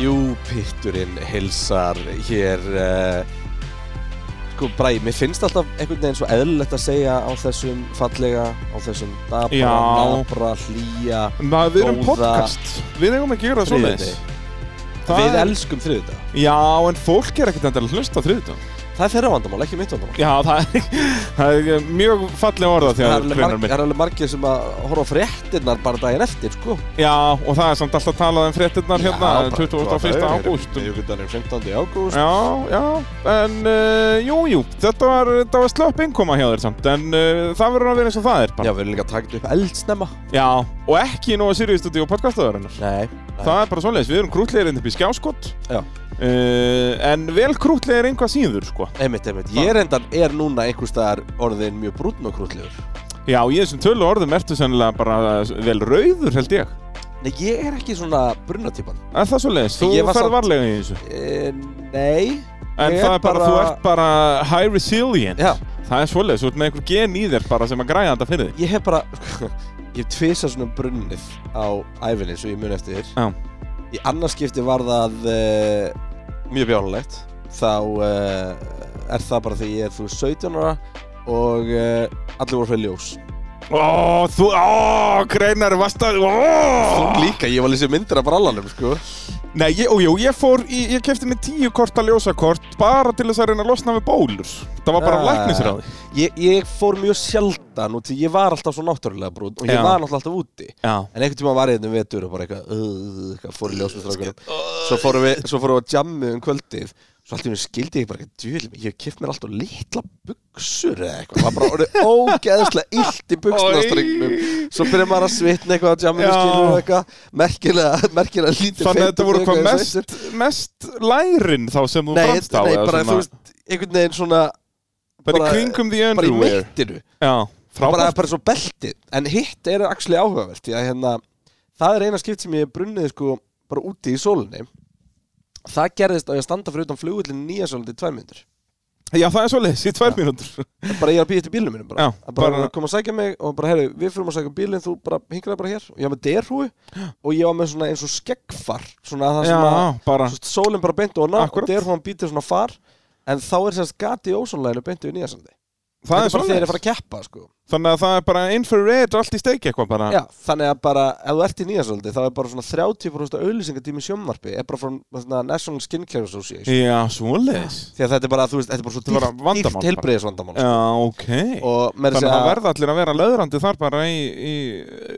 Jú, pitturinn hilsar hér uh, Sko, Bræ, mér finnst alltaf einhvern veginn svo eðlilegt að segja á þessum fallega, á þessum dabra, Já. nabra, hlýja Maður, við erum Góða- podcast, við eigum að gera svona þriðjudegi. Það Við er- elskum þriðudag Já, en fólk er ekkert endilega að hlusta á þriðutum Það er þeirra vandamál, ekki mitt vandamál Já, það er, það er mjög fallega orða Það er þegar alveg, hlunar marg, minn það er alveg margir sem að horfa á fréttinnar bara daginn eftir, sko Já, og það er samt alltaf talað um fréttinnar hérna, 21. ágúst Miðugundanum 15. ágúst Já, já, en uh, jú, jú, þetta var, þetta var slöpp innkoma hjá þér samt En uh, það verður að vera eins og það er Já, bara Já, við erum líka að taka þetta upp eldsnemma og ekki nú að Sirius Studio podcastaðurinnar Nei, Það er bara svoleiðis, við erum krútlegir inn upp í skjáskott Já. Uh, en vel krútlegir einhvað síður sko einmitt, einmitt Ég reyndar er núna einhvers staðar orðin mjög brúnn og krútlegur Já, í þessum tölu orðum ertu sennilega bara uh, vel rauður held ég Nei, ég er ekki svona brunatýpan Er það svo leiðis? Þú Ég var ferð samt- varlega í þessu e, Nei En Ég er það er bara, bara- þú ert bara high resilient Já, Það er svo leiðis, þú ert með einhver gen í þér bara sem að græða þetta fyrir þig ég hef bara sko, Ég hef tvisað svona brunnið á æfinni svo ég mun eftir þér Já. Í annars skipti var það e, mjög bjánulegt Þá e, er það bara þegar ég er þú veist, 17 ára og e, allir voru fyrir ljós Ó, þú, ó, greinar, vastar, ó líka, ég var lýsið myndir af brallanum, sko Nei, ég, ó, jú, ég fór, í, ég kefti mig tíu korta ljósakort bara til þess að reyna að losna við bólur Það var bara Ja. læknisráði Ég, ég fór mjög sjaldan út því ég var alltaf svo náttúrulega brún og ég Já. var náttúrulega alltaf úti Já En einhvern tíma var ég þetta um vetur og bara eitthvað, uh, eitthvað fór í ljós með strákunum. Svo fórum við, svo fórum við að jammi um kvöldið. Svo allt í henni skildi ég bara eitthvað, djúvel, ég hef kipt mér alltaf litla buksur eða eitthvað. Það var bara orðið ógeðslega illt í buksnastrengnum. Svo byrjar maður að svitna eitthvað á jamminu Já. skilur og eitthvað. Merkilega, merkilega lítið Þannig feitur að þetta voru og hvað eitthvað sveittur. mest, mest lærin þá sem þú Nei, framst á nei, eða bara svona- þú veist, einhvern veginn svona, Bara bara- í kringum the bara í underwear mittinu. Já, bara, frábært bara svo beltið en hitt er actually áhugavert því að hérna, það er eina skipt sem ég brunnið sko bara úti í sólunni það gerðist á ég að standa fyrir utan flugullin nýja sólandi tvær myndur Já, það er svo leiðis í tvær mínútur bara ég er að býja til bílum mínum bara, Já, að bara, bara- bara kom að sækja mig og bara herri, við fyrir að sækja bílinn, þú bara hingraði bara hér og ég var með derhúi og ég var með svona eins og skeggfar svona það sem að Já, bara svo sólinn bara beinti og ná Akkúrat. og derhúan býtir svona far en þá er sérst gati í ósónleginu beintið við nýja sólandi Það er bara þegar ég er að svoleiðis fara að keppa sko Þannig að það er bara infrared allt í steik eitthvað bara Já, þannig að bara, ef þú ert í nýjasöldi þá er bara svona 30% auðlýsingatími sjónvarpi er bara frá svona, National Skincare Association Já, svoleiðis því að þetta er bara, þú veist, þetta er bara Þetta er bara svo dýrt, vandamál dýrt bara. helbriðisvandamál Já, ok og með sko. Þannig þess að að það verða allir að vera löðrandi þar bara í, í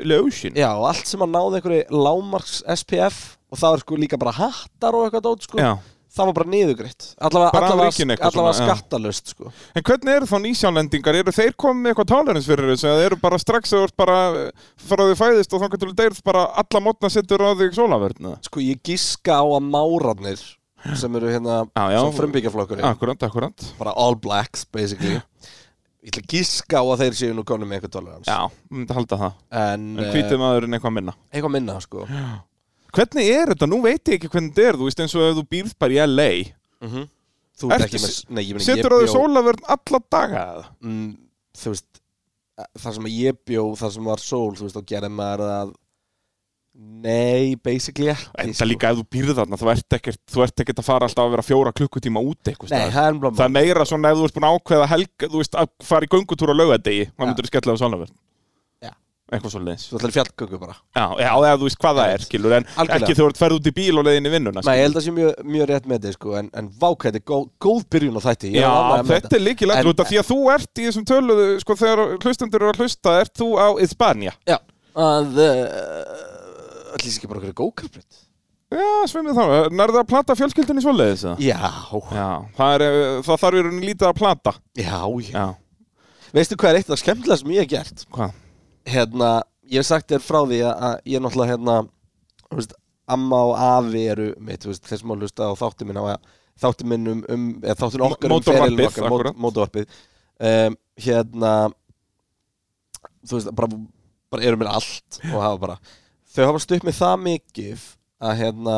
ljósin já, og allt sem að náði einhverju lámarks SPF og það er sko líka bara hattar og eitthvað dót, sko, Já það var bara niðugreitt allavega, Bara af allavega, ríkinu eitthvað allavega svona, já. skattalust, sko En hvernig eru þá nýsjálendingar? Eru þeir komið með eitthvað tolerance fyrir þessu? Eða eru bara strax að þú ert bara eh, frá því fæðist og þá getur þú deyrð bara alla mótna sittur á þig sólavörna? sko, ég giska á að márarnir sem eru hérna, Já, já. sem frumbyggjarflokkurinn Akkurant, akkurant. bara all blacks, basically ég ætla að giska á að þeir séu nú konum með eitthvað tolerans Já, myndi halda það. en, En eh, hvítið maðurinn eitthvað minna. eitthvað minna sko Hvernig er þetta? Nú veit ég ekki hvernig þetta er, þú veist eins og ef þú býrð bara í LA. Mhm. þú ert Ertu ekki með s- nei, ég meni, ég Sittur á þig bjó- sólavörn alla daga eða? mm, þú veist eh, þar sem ég bjó, þar sem var sól þú veist, þá gerði maður það nei, basically ekki sko. Enda líka ef þú býrð þarna, þú ert ekkert, þú ert ekkert að fara alltaf að vera fjóra klukkutíma út eitthvað. nei, það staðar. er Það blá er meira svona ef þú ert búin að ákveða helg, þú veist, að fara í göngutúr á laugadegi, þá Já. myndur þú skella á sólavörn. Já. Eitthvað svo leiðis. þú ætlar í fjallgöngu bara Já, já, eða þú veist hvað það er, skilur, en Algjörlega. ekki þú ert ferð út í bíl og leiðin í vinnuna. nei, ég held að sé mjög, mjög rétt með þetta sko, en, en vákæði, góð, góð byrjun á þætti Já, þetta er líkilega En- út af því að þú ert í þessum töluðu, sko, þegar hlustendur eru að hlusta, ert þú á Ísbanja. já, að uh, allir sér ekki bara okkur gókarbrönd Já, sveimið þá, eh, nærðu að plata fjölskyldinni svoleiðis það? já, Já, það, er, eh, það þarf í rauninni lítið að plata. já, já Já, veistu hvað er eitt af það skemmtilega sem ég hef gert hvað? hérna, ég hef sagt þér frá því að- að ég er náttúrulega hérna þú veist, amma og afi eru mitt, þú veist, þeir sem að hlusta á þáttum minn á þáttum minn um, um eða þáttum okkar um Mótorvarpið, ferilinn okkar, akkúrat. mót- mótorvarpið um, hérna þú veist, bara, bara eru mér allt og hafa bara, þau hafa stutt mig það mikið að hérna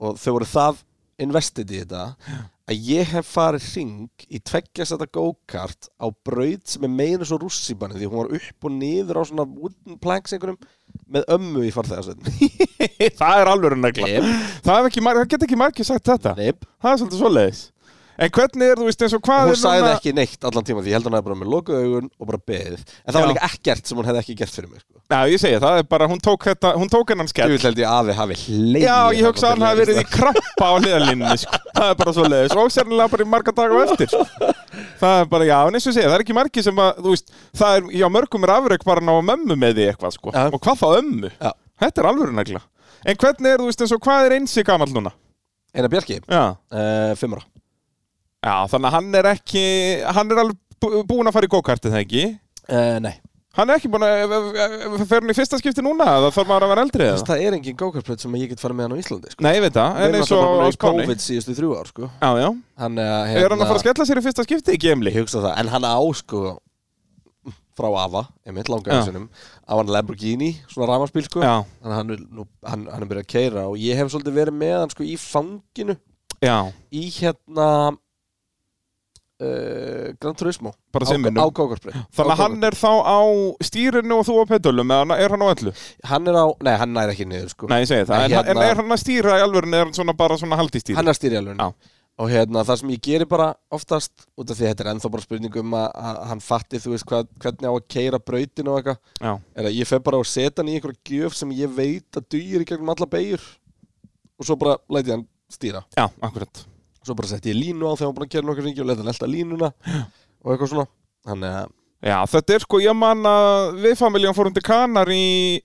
og þau voru það investið í þetta að að ég hef farið hring í tveggjast þetta go-kart á braut sem er meina svo rússibanni því hún var upp og niður á svona wooden planks einhverjum með ömmu í farþegarsveitin það er alveg negla það, hef ekki mar- það get ekki margir sagt þetta Neip. það er svolítið svoleiðis en hvernig er þú veist eins og hvað hún er sagði núna- ekki neitt allan tíma því ég held að hún hefði bara með lokuð augun og bara beðið en það var Já. líka ekkert sem hún hefði ekki gert fyrir mig sko. Já, ég segi það, er bara, hún tók þetta, hún tók hennan skell ég vil held ég afi hafi leið Já, ég hugsa að hann hafi verið í krabba á hliðalínni sko. Það er bara svo leiðis og sérnilega bara í marga daga á eftir sko. Það er bara, já, en eins og ég segja, það er ekki margi sem að, þú veist, það er, já, mörgum er afreg bara að ná að mömmu með því eitthvað, sko Já. Og hvað þá ömmu? Já. Þetta er alvöru negla En hvernig er, þú veist, eins og hvað er einsi gamall núna? Einar Bjarki, Já, uh, fimmara já þannig að hann er ekki, hann er alveg bú- búinn að fara í go-kartið, það ekki? uh, nei, Hann er ekki búinn að, fer hann í fyrsta skipti núna, það þarf maður að vera eldri eða? það er engin go-kartplöt sem ég get farið með hann á Íslandi sko. Nei, ég veit það, Við en erum eins alltaf og bara á búin í Spáni COVID síðustu þrjú ár sko. Já, já, hann, uh, Er hann að fara að skella sér í fyrsta skipti, Gemli? Ég hugsa það, en hann á sko frá Ava, einmitt langa Já. einsunum á hann Lamborghini, svona ramaspíl sko Já. þannig að hann, er nú, hann, hann er byrjað að keira og ég hef svolítið verið með hann sko í fanginu Já, í hérna uh, Gran Turismo Bara simminum. á, á Gókarsbreyt þannig að hann er þá á stýrinu og þú á pedalum, eða er hann á öllu? hann er á, nei hann næri ekki niður sko Nei, ég segi það, Nei, en, hérna- en er hann að stýra í alvörinu, er hann svona bara svona haldistýri? hann er að stýri alveg Já. og hérna það sem ég geri bara oftast út af því að þetta er ennþá bara spurningum að, að hann fatti þú veist hvað, hvernig á að keira brautin og eitthvað Já, er að ég fer bara og setja hann í einhverja gjöf sem ég veit að dugir í gegnum alla beigur og svo bara læti ég hann stýra já, akkurat. svo bara setti ég línu á þegar hann búin að gera nokkar ringi og læti hann elta línuna og eitthvað svona þannig að Já, þetta er sko, ég man að við familjan fórum til Kanar í,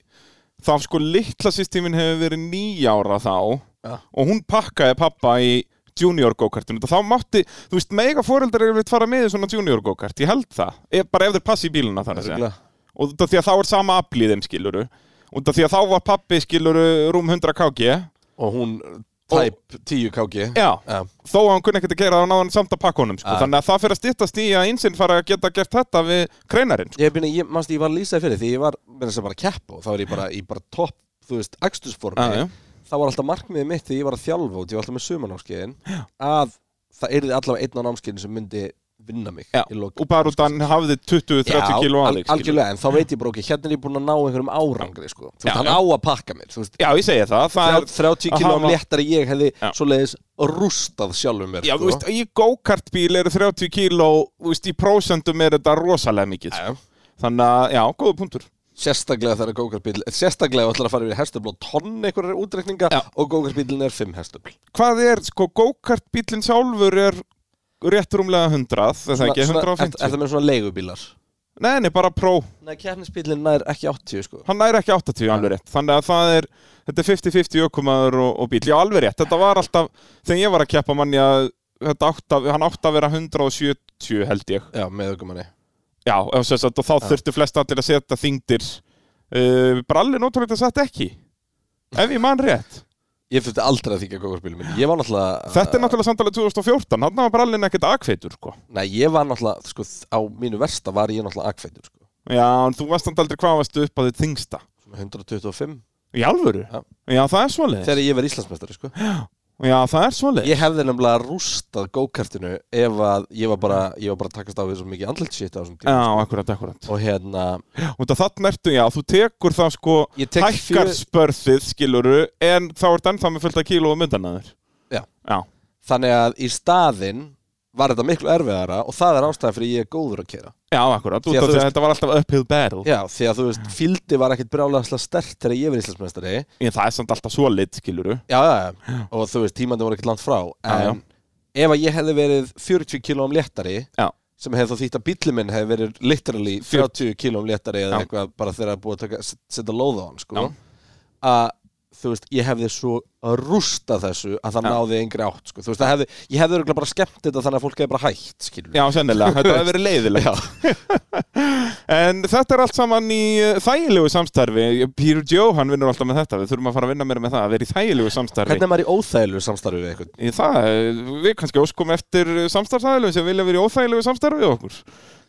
þá sko litla sýstímin hefur verið nýjára þá Já. og hún pakkaði pappa í junior go-kartinu og þá mátti, þú veist, mega fóreldar eru við fara með í svona junior go-kart, ég held það, Ég- bara ef þeir passi í bíluna þannig að segja. örugglega- og út af því að þá er sama afl í þeim skiluru út af því að þá var pappi skiluru rúm 100 kg og hún tæp 10 kg já, Já. þó að hann kunni ekkert að gera það náðan samt að pakka honum sko. Já. þannig að það fyrir að stýttast í að einsinn fara að geta gert þetta við kreinarinn sko. ég, byrja, ég, manstu, ég var að lýsa því fyrir því ég var með þess að bara keppa og þá er ég bara í bara topp þú veist, Já, akstusformi já. það var alltaf markmiðið mitt þegar ég var að þjálfa út ég var alltaf með sumanámskeiðin að það yrði allavega einn á námskeiðin sem myndi vinna mig Já, í lok og bara út að hann hafði 20-30 kg al- aðeins algjörlega, en þá veit ég bara ok, hérna er ég búinn að ná einhverjum árangri sko. þú Já, veist, hann já. á að pakka mér þú veist, já, ég segi það, það þrjá- er, 30 að kílóum hafa- léttari ég hefði Já. svoleiðis rústað sjálfum mér já, sko. þú veist, í go-kartbíl eru 30 kg veist, í prósentum er þetta rosalega mikið sko. Já. þannig að, já, góða punktur sérstaklega það er gókarbíl sérstaklega ætlar að fara yfir hestöfl og tonn einhverjar útrekninga Já. og gókarbílin er 5 hestöfl hvað er, sko, go-kartbílinn sjálfur er rétt rúmlega 100 það er ekki er, er 150 það með svona leigubílar Nei, nei, bara pró. Nei, keppnisbílinn nær ekki 80 sko Hann næri ekki 80 alveg rétt. Þannig að það er, þetta er 50-50 ökumaður og, og bíl. Já, alveg rétt. Þetta var alltaf, þegar ég var að keppa manni að þetta átt að, hann átt að vera 170 held ég. Já, með aukumanni Já, og, sem sagt, og þá þurftu flest allir að setja þingdir. Uh, Brallin ótrúlega satt ekki. Ef ég man rétt. Ég þurfti aldrei að þykja gókarbílum minn Ég var náttúrulega Þetta er náttúrulega samtalið 2014. Hann var brallin ekkert akveitur, sko. Nei, ég var náttúrulega, sko, á mínu versta var ég náttúrulega akfeitur sko Já, en þú varst hann aldrei hvað varstu upp að þið þingsta. Svona 125 Í alvöru? Já. Já, það er svoleiðis. Þegar ég verið Íslandsmeistari sko Já, það er svoleiðis. Ég hefði nefnilega rústað go-kartinu ef að ég var bara, ég var bara að takast á við svo mikið andlilt shit á þessum Já, tíma akkurat, akkurat. og hérna, Út af þarna ertu, já, þú tekur það sko Ég tek hækkar fjö- spörðið, skiluru en þá ert ennþá með fullt að kílóa myndan að þér Já. Já, þannig að í staðinn var þetta miklu erfiðara og það er ástæðan fyrir ég er góður að kera já akkurat, Því út að af þú því að veist- þetta var alltaf uphill battle Já, því að þú veist, fíldi var ekkit brjálega stert þegar ég verið Íslandsmeistari en það er samt alltaf svo lit, skiluru já, já, já, og þú veist, tímandi voru ekkert langt frá Já, en ef að ég hefði verið 40 kílóum léttari Já. sem hefði þá þýtt að bíllinn minn hefði verið literally 40 kílóum léttari eða Já. eitthvað bara þegar að búið að taka, set- setja lóð á hann sko, Já. að þú veist, ég hefði svo að rústa þessu að það Já. náði yngri átt sko. þú veist, það hefði, ég hefði örugglega bara skemmt þetta þannig að fólk hefði bara hægt skilur Já, sennilega, þetta hefur verið leiðilegt En þetta er allt saman í eh, þægilegu samstarfi Peter Joe, hann vinnur alltaf með þetta Við þurfum að fara að vinna meira með það, að vera í þægilegu samstarfi hvernig er maður í óþægilegu samstarfi við eitthvað Í það, eh, við kannski óskum eftir samstarfsæðilum sem vilja vera í óþægilegu samstarfi við okkur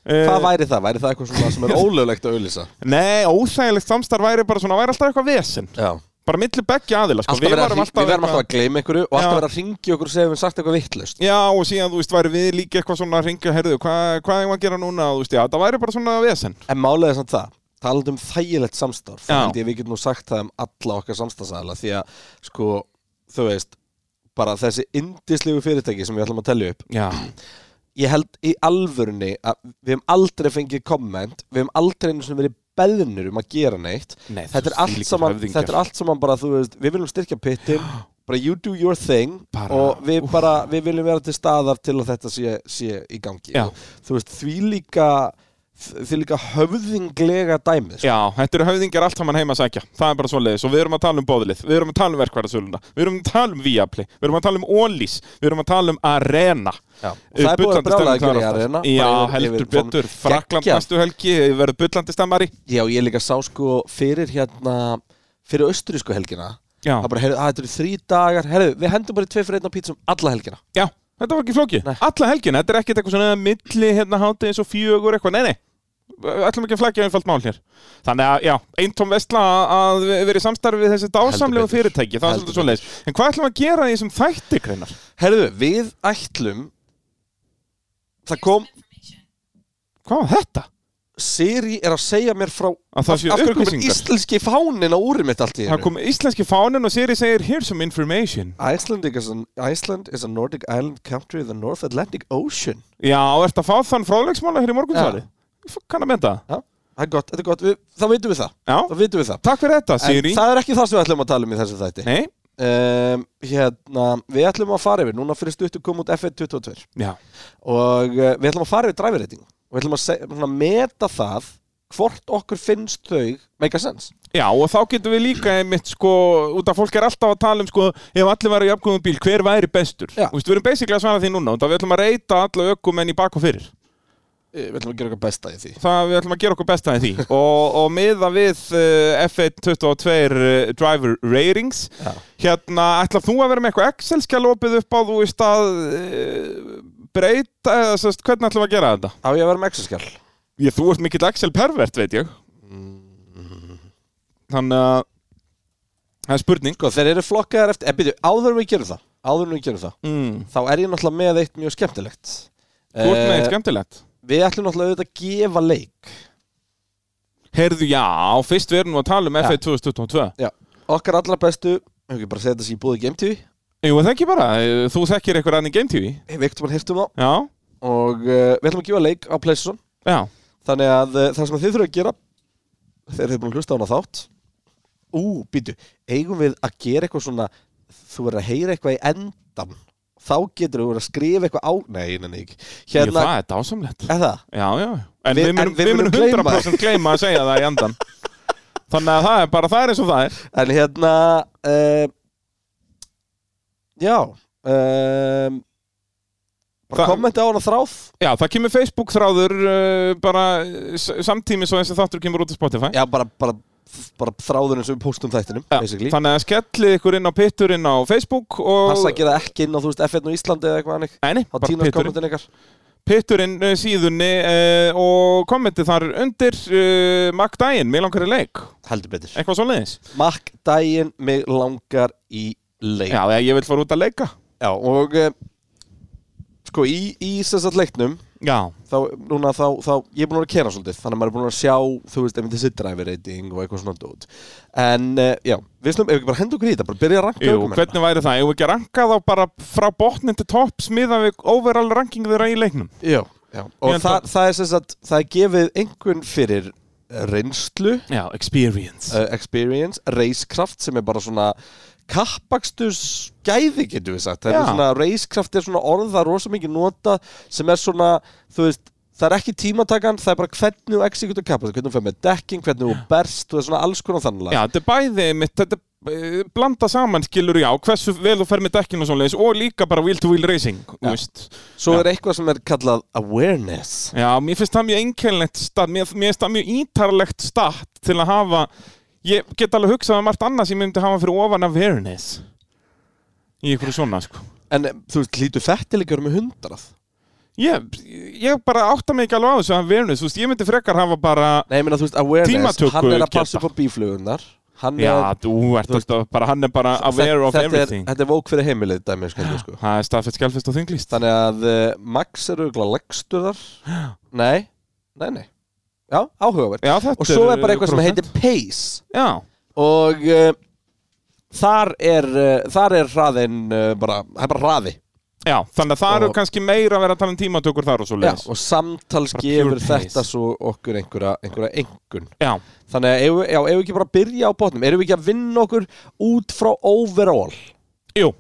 Eh, hvað væri það, væri það eitthvað svona sem er ólöglegt að auðlýsa Nei, óþægilegt samstarf væri bara svona, væri alltaf eitthvað vesen já, bara milli beggja aðila sko. Alltaf vera, varum alltaf við verðum alltaf að gleyma einhverju og alltaf Já. vera að ringi okkur sem við sagt eitthvað vittlust Já, og síðan, þú veist, væri við líka eitthvað svona að ringja, heyrðu, hvað hva er maður að gera núna, þú veist, já, það væri bara svona vesen. En málega samt það, talandi um þægilegt samstarf þá Já. held ég að við getum nú sagt það um alla okkar samstarfsæðala því að, sko, þú veist bara þessi indislegu fyrirtæki sem við ætlum að telja upp Já, ég held í alvörunni að við hefum aldrei fengið komment við hefum aldrei einu sem verið beðnir um að gera neitt Nei, þetta, þú er allt þvílíkur saman, höfðingjar. þetta er allt saman bara þú veist, við viljum styrkja pittin bara you do your thing Bara, og við, bara, við viljum vera til staðar til að þetta sé, sé í gangi Já. þú veist, því líka því líka höfðinglega dæmið sko. já, þetta eru höfðingar allt saman heima að sækja, það er bara svona leiðis og við erum að tala um bóðlið, við erum að tala um verkvarðasöluna, við erum að tala um Viaplay, við erum að tala um Ólís, við erum að tala um Arena. Já. Og það er búið að Bullandi brjála að gera stemning í þar Arena, bara yfir- aftur. Já, heldur yfir von- betur, Frakland Geggjað. næstu helgi, verður bullandi stemmari. já, og ég líka sá sko fyrir hérna fyrir austurísku helgina Já. það bara, heyrðu, að þetta eru þrý dagar heyrðu, við hendum bara í tvei fyrir einn á pítsum alla helgina Já, þetta var ekki flókið. Nei. Alla helgin, þetta er ekkert eitthvað svona milli hérna hátið eins og fjögur eitthvað, nei, nei. Við ætlum ekki að flækja einfalt mál hér. Þannig að, já, eintóm vesla að vera í samstarfi við þessi dásamlegu betur. fyrirtæki, það er Heldur svolítið svo leiðis. En hvað ætlum við að gera í þessum þætti, Greinar? Herðu, við ætlum Það kom Hvað var þetta? Siri er að segja mér frá Að það séu Af hverju komur upplýsingar. íslenski fánin á úrið mitt allt í Það hennu kom íslenski fánin og Siri segir, here's some information. Iceland is, an, Iceland is a Nordic island country in the North Atlantic Ocean Já, ert að fá þann frálegsmála hér í morgunsvari? Ég kann að menta það. Já, það er gott, þetta er gott við, Það veitum við það, Já, það, veitum við það. takk fyrir þetta, Siri. En það er ekki það sem við ætlum að tala um í þessu þætti Nei, um, hérna, Við ætlum að fara yfir Núna fyrir stuttu kom út F1 22 já, og uh, við ætlum að fara yfir driver rating og við ætlum að se- svona, meta það hvort okkur finnst þau make a sense Já, og þá getum við líka einmitt sko, út af fólk er alltaf að tala um sko, ef allir væri í afgöðum bíl, hver væri bestur? Já. Þú veist, við erum basically að svara því núna, út af við ætlum að reyta alla ökumenn í bak og fyrir. Eh, við ætlum að gera okkar besta í því Það við ætlum að gera okkur besta en því. og, og miða við uh, F1 22 uh, driver ratings, Já. hérna, ætlar þú að vera með eitthvað Excel-skjál opið upp á, þú veist, að uh, breyta, eða sérst, hvernig ætlum við að gera þetta? á ég að vera með exaskjál Ég, þú ert mikill Excel pervert, veit ég. Mm-hmm. Þannig að, það er spurning. sko þeir eru flokkaðar eftir, eða byrju, áður en við gerum það áður en við gerum það, Mm. þá er ég náttúrulega með eitt mjög skemmtilegt Þú ert með Eh, eitt skemmtilegt. við ætlum náttúrulega auðvitað að gefa leik Herðu, já, fyrst við erum nú að tala um Já. F1 2022. já, okkar allra bestu hefur ekki bara segja þetta sem ég búið í Game TV Jú, það ekki bara, eh, þú þekkir eitthvað rann í Game TV. við ektum að hirtum þá Já, og uh, við ætlum að gefa leik á Playstation já, Þannig að uh, það sem þið þurfum að gera Þegar þið er búin að hlusta á hana þátt Ú, býtu, eigum við að gera eitthvað svona Þú verður að heyra eitthvað í endan Þá getur þú verið að skrifa eitthvað á Nei, neina ekki Jú, Hérna, það er dásamlegt. eða það Já, já, en Vi- við, en munum, við munum gleyma 100% gleyma að segja það í andan. Þannig að það er bara, það er eins og það er. En hérna uh, Já um, Bara Það- kommenti á hana þráð Já, það kemur Facebook þráður uh, bara eh, s- samtímis og þessi þáttur kemur út á Spotify. Já, bara, bara, bara þráðurinn sem við póstum þættinum Já, basically. þannig að skellið ykkur inn á pitturinn á Facebook og... Passa að gera ekki inn á, þú veist, FN og Íslandi eða eitthvað hannig Nei, nei, Þá bara tínast pitturinn. kommentin ykkar pitturinn eh, síðunni uh, og kommentið þar undir uh, Mac Dæin, mig langar í leik Heldur betur eitthvað svoleiðis Makk daginn mig langar í leik já, ég vil fara út að leika Já, og eh, sko í, í sessat leiknum já, þá, núna þá, þá, ég er búin að vera að kera svolítið þannig að maður er búin að sjá, þú veist, ef þessi driver rating og eitthvað svona dót en eh, já, við snum, ef ekki bara hendur okkur í þetta bara byrja að ranka Jú, ökumenn. hvernig væri það, ég vil ekki að ranka þá bara frá botnin til topp smiða við overall ranking þeirra í leiknum Já, já, og Ég það, enda- það er sessat það er gefið einhvern fyrir eh, reynslu já, experience uh, experience, racecraft sem er bara svona kappaksturs gæði getur við sagt Það er Já. svona, racecraft er svona orð það er rosa mikið nota sem er svona þú veist, það er ekki tímatakan það er bara hvernig þú exekutur kappaksturs hvernig þú fer með dekking, hvernig þú berst þú er svona alls konar þannig já, þetta er bæði mitt þetta eh, blanda saman skilur já hversu vel þú fer með dekkin og svoleiðis og líka bara wheel to wheel racing Já. þú veist. svo er eitthvað sem er kallað awareness Já, mér finnst það mjög einkennlegt stað, mér, mér finnst það mjög ítarlegt stað til að hafa, ég get alveg hugsað um margt annað sem ég myndi hafa fyrir ofan awareness í einhverju svona, sko. en eh, þú veist, lítur þetta líka um hundrað Ég, ég bara átta mig ekki alveg á þessu awareness, þú veist, ég myndi frekar hafa bara, nei, ég meina þú veist, awareness, Tímatöku hann er að geta. passa upp á bíflugunar Hann Já, er, þú ert alltaf bara, hann er bara aware þetta, of þetta, er, everything þetta er vók fyrir heimilið dæmi, skaldi, sko. Það er staðfett skjálfist og þinglist Þannig að uh, Max er auðvitað leggstur þar Nei, nei, nei Já, áhugavert Já, þetta Og svo er bara eitthvað sem heitir Pace Já, Og uh, þar er uh, þar er hraðin uh, bara, það er bara hraði já, þannig að það eru Og- kannski meira að vera að tala um tímatökur þar og svo Já, leiðis og samtals Bara gefur pure pace. þetta svo okkur einhverja, einhverja engun Já, Þannig að eigum við- já, eigum við ekki bara að byrja á botnum Erum við ekki að vinna okkur út frá overall jú,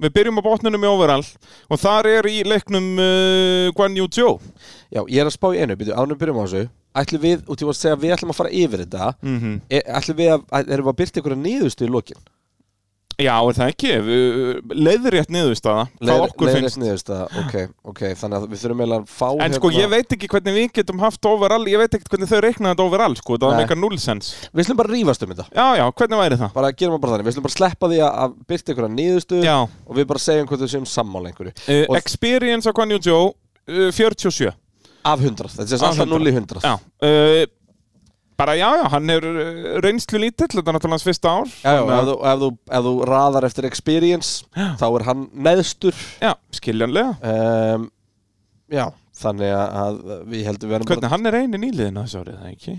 við byrjum á botnunum í overall og þar er í leiknum uh, Guan Yu Zhou Já, ég er að spá í einu, byrju, ánum byrjum á þessu Ætlum við, og til að segja að við ætlum að fara yfir þetta mm -hmm. e, Ætlum við að, erum við að byrta einhverja niðurstu í lokin Já, er það ekki? Leðrétt niðurstaða Hvað okkur finnst Leðrist ok, ok, þannig að við þurfum eiginlega að fá hérna- En sko, ég veit ekki hvernig við getum haft overall Ég veit ekki hvernig þau reiknaði þetta overall, sko Það Nei. meikar nullsens Við slum bara rífast um þetta Já, já, hvernig væri það? Bara gerum það bara þannig, við slum bara sleppa því að- að byrta einhverja nýðustu Já, Og við bara segjum hvort við séum sammála einhverju uh, Og- experience á Guan Yu Zhou uh, 47 Af 100, þetta er Af alltaf 100. 0 í 100 Já uh, Bara já, já, hann er uh, reynslu lítill Þetta er náttúrulega hans fyrsta ár Já, já, Þannig ef að- þú, ef, þú, ef þú raðar eftir experience Já. Þá er hann neðstur já skiljanlega um, Já, þannig að að við heldum við erum Hvernig, hann er einin í liðinu þessu árið, það ekki?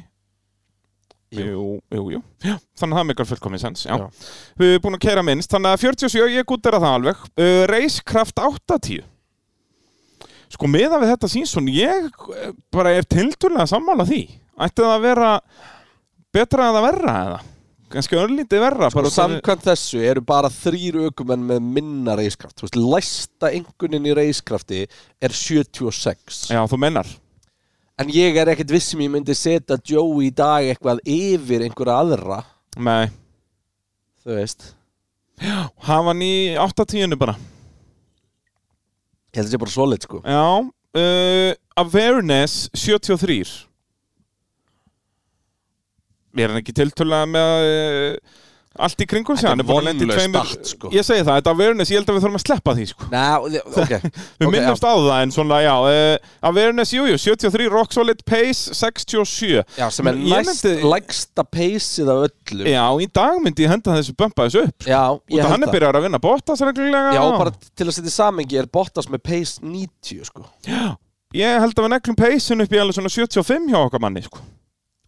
Jú. Jú, jú, jú. Já, þannig að það meikar fullkomið sens, já. Já. Við erum búin að keira minnst, þannig að 47, ég gútera það alveg. Uh, Reiskraft 80. Sko, meðan við þetta sínsson, ég eh, bara er tildurlega sammála því. Ætti það að vera betra eða verra eða? Ganski örlítið verra. Sko, bara það- samkvæmt þessu eru bara þrýr aukumenn með minna reiskraft Þú veist, læsta engunin í reiskrafti er 76 Já, þú mennar. En ég er ekkert viss sem ég myndi setja Joey í dag eitthvað yfir einhverja aðra Nei, Þú veist hafa hann í 80 bara. Ég held að sé bara solid sko Já, uh, Awareness 73 Er hann ekki tiltölulega með uh, allt í kringum sig Þetta Hann er búinn að lenda í vonlaust tveimur- allt, sko. Ég segi það, þetta Awareness, ég held að við þurfum að sleppa því sko. Næ, ok Við Ok, minnumst á það en svona, já uh, Awareness, jújú, jú, 73, Rock Solid Pace 67 Já, sem er Ég næst nefndi- lægsta peysið af öllum Já, í dag myndi ég henda þessu bömpa þessu upp Já, Út ég að hann held er það byrjar að vinna Bottas reglulega Já, bara til að setja í samengi er Bottas með pace 90 sko Ég held að við neglum Pace-in upp í alveg svona 75 hjá okkar manni sko.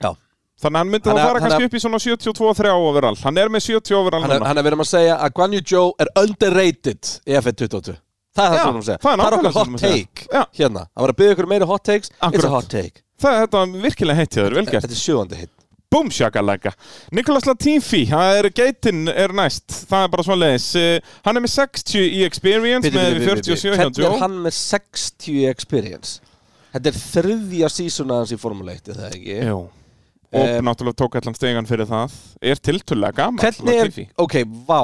Já Þannig að hann myndi Hann þá er- fara hann kannski upp í svona 72-3 overall. Hann er með 70 overall Hann er, núna. hann er verið um að segja að Guan Yu Zhou er underrated í F122 Það er það Já, sem hann að segja Það það er er nákvæmlega okkar það hot sem hann segir. take Já. Hérna, hann var að byggja ykkur meiri hot takes It's a Akkurat. hot take Það er þetta var virkilega heitt hjá þér, vel gert. Þetta er sjöfandi hit Búm, sjakalega. Nikolas Latifi, það er geitin er næst. Það er bara svona leiðis. Eh, Hann er með 60 í experience Bíddu, með bíddu, bíddu, bíddu. 47 hjá Hvernig er hérna, Joe. hann með 60 í experience? Þetta er þriðja sísuna hans í Formule 1, er það ekki? Jú. Og Eh, náttúrulega tók allan stegan fyrir það. Er tiltulega gaman, Hvernig er, Latifi. ok, vá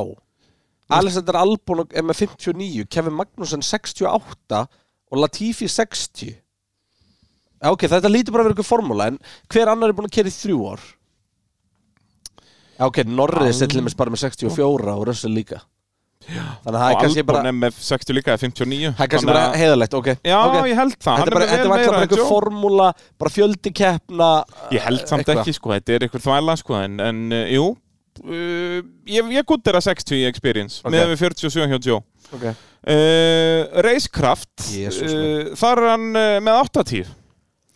Alexander Albon er með 59 Kevin Magnussen 68 og Latifi 60 Já, Ok, þetta lítur bara að vera ykkur formúla en hver annar er búin að kera í þrjú ár? Já, ok, Norris er til dæmis bara með 64 og Russell líka Þannig að það Og er kannski Albon bara, er með 60 líka, 59. það er kannski Þannig bara að- heiðalegt, ok Já, ok. ég held það. Þetta er bara, þetta var bara einhver formúla, bara fjöldi keppna Ég held samt eitthvað. ekki sko, þetta er eitthvað þvæla sko, en, en uh, jú, uh, ég, ég gutt er að 60 í experience, Ok. okay. með 47 hjá Joe. okay. Uh, Reiskraft, Jesús uh, þar er hann uh, með 80.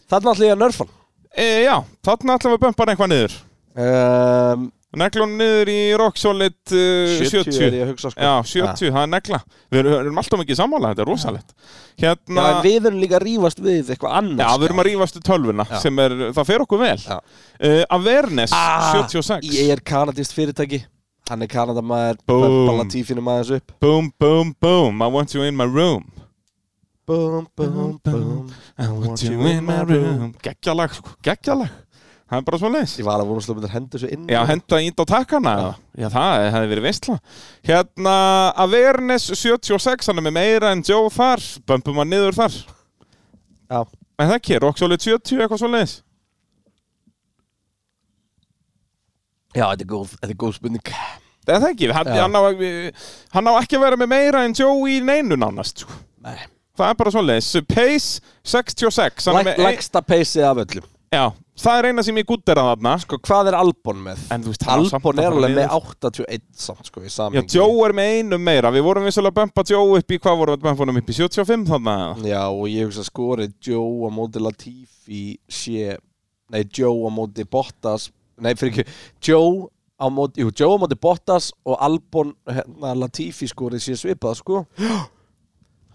Þannig ætla ég að nörfa Uh, já, þarna ætlum við að bömpa hann eitthvað niður. hann um, Neglum niður í Rock Solid uh, 70. 70 er ég að hugsa sko Já, 70, það er negla. Við erum, erum alltaf mikið sammála, þetta er rosalegt. Já, Hérna, en við erum líka að rífast við eitthvað sko. annars já, við erum að rífastu tölvuna, Já. sem er, það fer okkur vel. Já. Uh, Avernes, Ah, 76. Ég er kanadist fyrirtæki Hann er kanadamaður Búm. Bömbala tífinum aðeins upp Boom, boom, boom, I want you in my room Bum, bum, bum I want you in my room Gekkjalag, sko, gekkjalag Það er bara svo leis Ég var að vona að slöpunir hendur svo inn Já, henda índ á takkana eða? Já, það hefði verið veistla Hérna, Avernes 76 Hann er með meira en Joe þar Bömpum hann niður þar Já. En það ekki, Rock Solid 70, eitthvað svo leis Já, þetta er góð, þetta er góð spurning Það er það ekki, hann, Já. hann, á, hann á ekki að vera með meira en Joe í neinu nánast sko. Nei. Það er bara svo leis Pace 66 hann er Læk, með ein- Lægsta peysið af öllum Já, það er eina sem ég gutt er að þarna Sko, hvað er Albon með? En þú veist, hann á samt Albon er að fara alveg niður. með 81 samt, sko, í Já, samhengi Joe er með einum meira, við vorum vissulega að bömpa Joe upp í, hvað vorum við að bömpa honum upp í 75 þannig að Já, og ég hugsa skorið Joe á móti Latifi sé, nei, Joe á móti Bottas, nei, fyrir ekki Joe á móti, jú, Joe á móti Bottas og Albon, hérna, Latifi skorið sé svipað, sko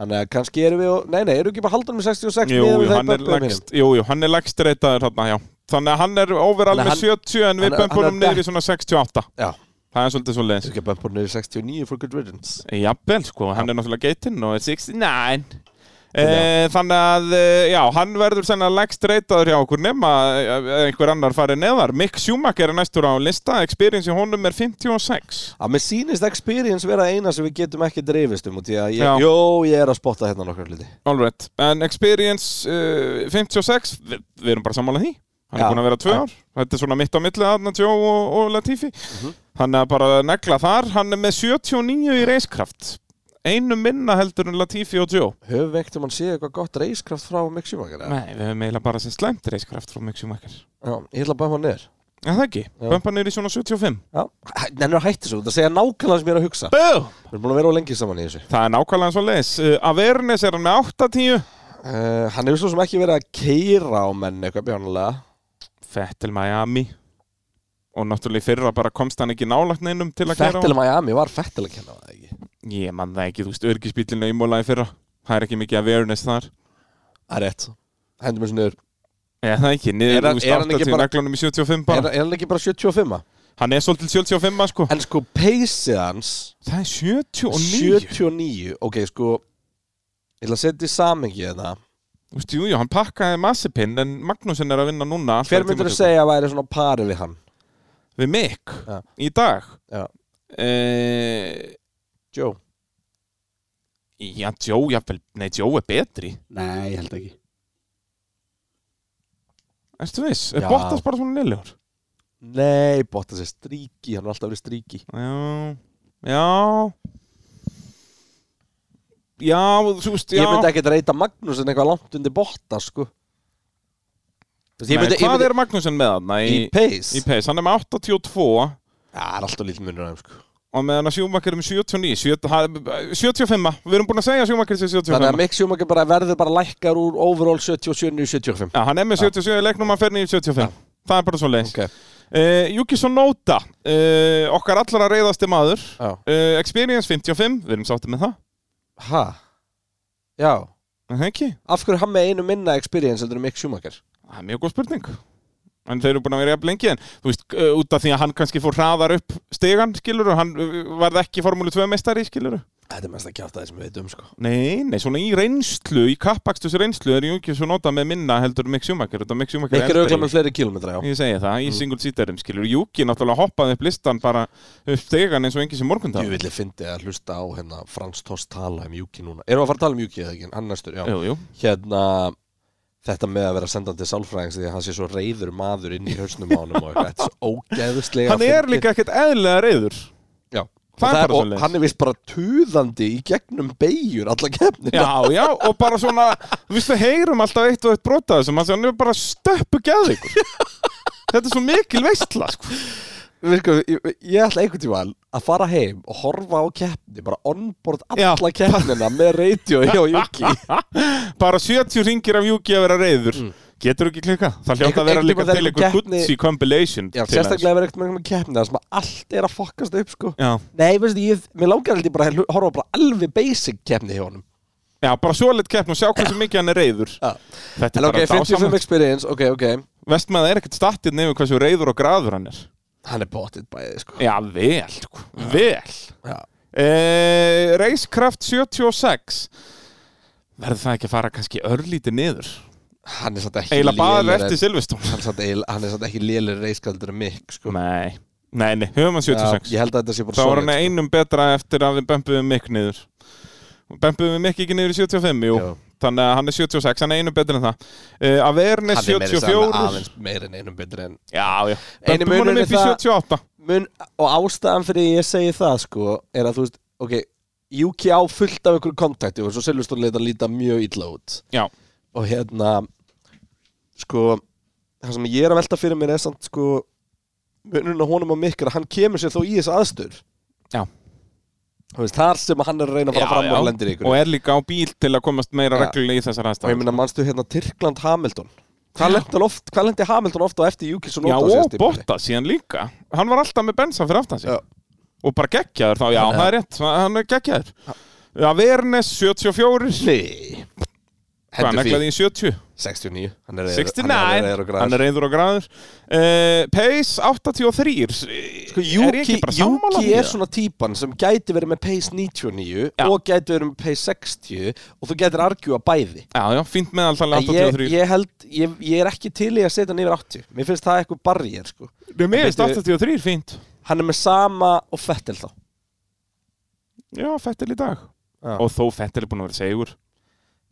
Þannig að kannski eru við, og- nei, nei, eru ekki bara haldunum með 66 Jú, miðað jú, við það í hann er bömpunum hinum? lagst, jú, jú, hann er lagst reytaður þarna, já. Þannig að hann er overall Þannig að með hann- 70 en hann við er- hann bömpunum er niður í back. svona 68. Já, Það er svolítið svo þú leiðis. ekki að bömpunum er 69 for good riddance Jafnvel, sko, hann er náttúrulega geitinn og er 69. E, þannig að, eh, já, hann verður sennilega lagst reytaður hjá okkur nema eh, einhver annar farið neðar. Mick Schumacher er næstur á lista, experience í honum er 56. Að mér sýnist experience vera eina sem við getum ekki dreifist um og því að Já. ég, jó, ég er að spotta hérna nokkar hluti. All right. En experience uh, 56, vi, við erum bara sammálað því. Hann Já. er búin að vera tvö Já. ár. Þetta er svona mitt á milli þarna Joe og, og Latifi. Mhm. Hann er bara að negla þar. Hann er með 79 í reiskraft. Einu minna heldur en Latifi og Joe. Höfum við ekkert um hann séð eitthvað gott reiskraft frá Mick Schumacher? eða? Nei, við hefum eiginlega bara sem slæmt reiskraft frá Mick Schumacher. Já, ég ætla að bæma hann niður. En það ekki. Já. Bömpan er í svona 75. Já, nennir að hætti svo, það segja nákvæmlega sem ég er að hugsa. Bú! Við erum búin að vera á lengi saman í þessu. Það er nákvæmlega svo leis. Uh, Avernes er hann með 80. Uh, hann hefur svo sem ekki verið að keira á menn eitthvað bjánulega. Fettil Miami. Og náttúrulega í fyrra bara komst hann ekki nálagt neinum til að kæra Fettil Miami var fettil að kenna það ekki. Ég man það ekki, þú veist, örgisbílinu í mólaði fyrra Það er ekki mikið awareness þar Það er rétt. Hendur mér svona yfir. Ég það ekki, Er niður, hann- þú veist, er hann ekki 80 bara- neglunum í 75 Er, bara er hann ekki bara 75? Hann er svolítið 75 sko En sko, peysið hans, Það er 79 79, ok, sko, ég ætla að setja í hérna. samengi þetta. Þú veist, jú, jú, hann pakkaði massipinn En Magnúsin er að vinna núna alltaf Hver myndur þú tímatökum. segja að væri svona á pari við hann? Við Mick, Já. í dag Já. Eh, Joe? Já, Joe, jafnvel, nei, Joe er betri Nei, ég held ekki Ertu viss, er Já. Bottas bara svona liðlegur Nei, Bottas er stríki, hann er alltaf verið stríki. Já, já Já, þú veist, já Ég myndi ekki reyta Magnús en eitthvað langt undir Bottas, sko. Þú veist, Ég Nei, myndi, ég hvað myndi, er Magnúsin með hann? í pace? Í pace, hann er með 82 Það er alltaf lítið munur á þeim, sko. og meðan að Schumacher er með 79 70, ha- 75, við erum búin að segja að Schumacher sé Þannig að 75 Mick Schumacher bara verður bara lækkar úr overall 77 í 75. Já, hann er með 77 í leiknum, hann fer niður í 75 Það er bara svo leiðis okay. Ok, uh, Juki Sonóta, uh, okkar allra reyðasti maður já. uh, Experience 55, við erum sáttið með það Hæ? Já. Er Það ekki, Af hverju er hann með einu minna experience heldur en Mick Schumacher? það er mjög góð spurning En þeir eru búin að vera jafn lengi en þú veist, uh, út af því að hann kannski fór hraðar upp stegan, skilur, og hann uh, varð ekki formúlu 2 meistari, skilur Þetta er mest að kjáta þessum við veitum, sko. Nei, nei, svona í reynslu, í kappakstus reynslu er Júkjus og nota með minna heldur Mick Schumacher, þetta Mick Schumacher Mick er auðvitað eldri. með Mm. fleiri kilómetra, já. Ég segi það, í single seaterum skilur Júki náttúrulega hoppaði upp listan bara upp stegan eins og engi sem morgundag Ég vil ég fyndi að hlusta á hérna Frans Toss tala um Juki núna. Erum við að fara að tala um Juki eða ekki? Hann næstur, já. Jú, jú, hérna þetta með að vera sendandi sálfræðings því að hann sé svo reyður maður inn í hausnum ánum og eitthvað, þetta er svo ógeðslega hann er líka ekkert eðlega reyður já, og, Það er það, bara og svoleiðis. hann er vist bara tuðandi í gegnum beigjur alla kefnina Já, já, og bara svona, þú veist við heyrum alltaf eitt og eitt brotaði sem hann er bara stöppu geði Þetta er svo mikil veistla, sko Virku, ég, ég ætla einhvern tíma að fara heim og horfa á keppni, bara onboard Já. alla keppnina með radio hjá Juki Bara 70 ringir af Júki að vera reyður Getur ekki klika? Það hljóta Einhver- að vera Mm. einhvern líka tímann þegar til einhver keppni- Gucci compilation já, til hans. sérstaklega verið eitthvað með einhverjum keppni þar sem að allt er að fokkast upp sko. Já, nei, veistu, ég, mér langar aldrei bara að horfa bara alveg basic keppni hjá honum Já, bara svoleitt keppn og sjá hversu mikið hann er reyður Já. Þetta en er ok, bara 55 dásamlegt experience, ok, ok Vestmaður er ekkert statið nefnir hversu reyður og graður hann er Hann er bóttið bæðið sko Já, vel, sko. vel Já. e, Reiskraft 76 Verður það ekki að fara kannski örlítið niður Hann er satt ekki Eila bara lélegri- eftir Silveston hann, er satt eil, hann er satt ekki lélir reiskaldur en mikk sko Nei, nei, nei, höfum hann 76 Já, Ég held að þetta sé bara Þá var hann solid, einum betra eftir að við bempuðum mikk niður Bempuðum mikk ekki niður í 75, jú Já. Þannig að hann er 76, hann er einum betra en það e, Avernes Hann er meira sem 74 aðeins meira en einum betri en Já, já Eini Bömpum honum munurinn er upp í það- 78 Mun, Og ástæðan fyrir ég segi það sko Er að þú veist, ok Juki á fullt af einhverju kontakti Og svo Silveston leita líta mjög illa út Já, Og hérna Sko það sem ég er að velta fyrir mér er samt sko munurinn á honum og mikil að hann kemur sér þó í þess aðstur Já. veist, þar sem hann er að reyna að fara Já, fram já. og lendir í ykkur og er líka á bíl til að komast meira Já. reglulega í og þessar ég aðstæður minna mannstu hérna Tyrkland Hamilton hvað lendi, hann oft, hvað lendi Hamilton ofta eftir Júkilsson Já, og Botta síðan líka Hann var alltaf með bensan fyrir aftan sig Já. Og bara geggjaður þá, já, Já. það er rétt Hann er geggjaður Já, Vernes 74 Nei Hvað, Hendur neglaði fyrir í 70? 69 Hann er reiður- 69 Hann er reiður og græður. reiður og græður uh, Pace 83 Sko, Er ég Juki, ekki bara Juki sammála því er eða? svona típan sem gæti verið með pace 99 Já. og gæti verið með pace 60 og þú gætir argjúa bæði Já, já, fínt meðaltal En ég, 83 ég held, ég, ég er ekki til í að setja hann yfir 80 Mér finnst það eitthvað barriér sko. Nei, mér finnst Bíddu. 83 fínt Hann er með sama og fettel þá Já, Fettil í dag Já. Og þó Fettil er búin að vera segur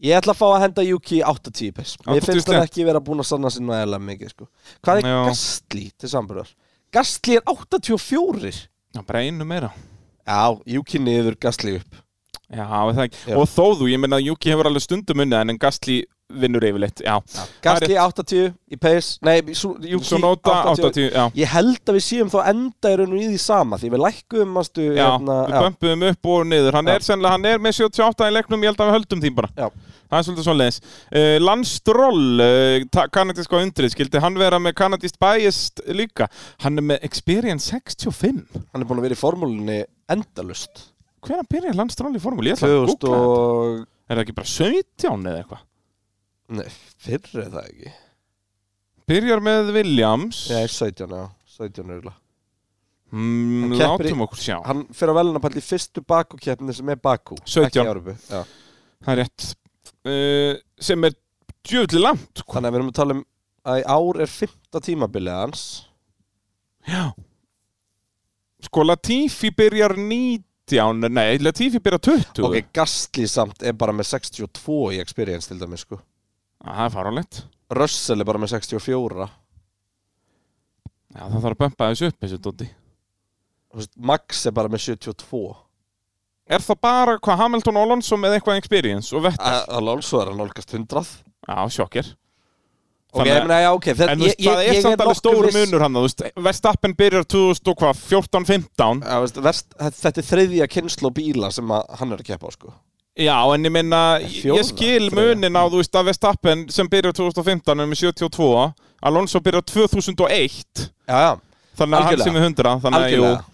Ég ætla að fá að henda Juki í 80 pace Mér 80 finnst hann slétt. ekki vera búin að sanna sér nægilega mikið sko. Hvað er Já. Gastli til samburðar? Gastli er 84 Já, bara einu meira Já, Juki niður, Gastli upp Já, er það ekki Já. Og þó þú, ég meina að Juki hefur alveg stundum unnið En en Gastli vinnur yfirleitt Já, Það er Gastli 80 í pace Nei, Su- Juki Svo nota 80, já Ég held að við séum þá enda í raun og í því sama Því við lækkuðum manstu, Já, hérna, við bömpum upp og niður Hann Já. er sennilega, hann er með 78 í leiknum Ég held að við höldum því bara Já. Það er svolítið svoleiðis uh, Landstroll, uh, kanadíska undrið Skildi hann vera með kanadíst bæjist líka Hann er með Experience 65 Hann er búin að vera í formúlunni endalust Hvenær byrjaði Landstroll í formúli? Ég ætla að 2000 googla þetta og... Er það ekki bara 17 eða eitthvað? Nei, fyrr er það ekki Byrjar með Williams Nei, 17, já 17 örgulega mm, Hann keppir í- Látum okkur sjá Hann fyrir að velna pæli í fyrstu Bakú-keppni sem er Bakú 17. Ekki Evrópu, já. Það er rétt uh, Sem er djöfli langt sko. Þannig að við erum að tala um að í ár er 15 tímabilið hans Já Sko Latifi byrjar 19 Nei, Latifi byrjar 20 Ok, Gastli samt er bara með 62 í experience til dæmis sko Á, Ah, Það er farulegt Russell er bara með 64 Já, það þarf að bömpa þessu upp þessu dóti Þú veist, Max er bara með 72 Er það bara hvað Hamilton og Alonso með eitthvað experience og vett A- Alonso er að nálgast 100 Já, sjokkir Ok, Þannig ég að- meina, já, ok þetta- En þú veist, ég- það ég- er ég samt alveg nokkuð stóru viss- munur hann þú veist, Verstappen byrjar 2000 og hvað 14-15 Já, veist, verst, þetta þetta er þriðja kynnslu bíla sem að hann er að keppa á sko Já, en ég minna, fjórða, ég skil þriðja. munin á, þú veist, að Verstappen sem byrjar 2015 er með 72 Alonso byrjar 2001 Já, já, Þannig að hann Algjörlega. sem er 100 Þannig að, jú, algjörlega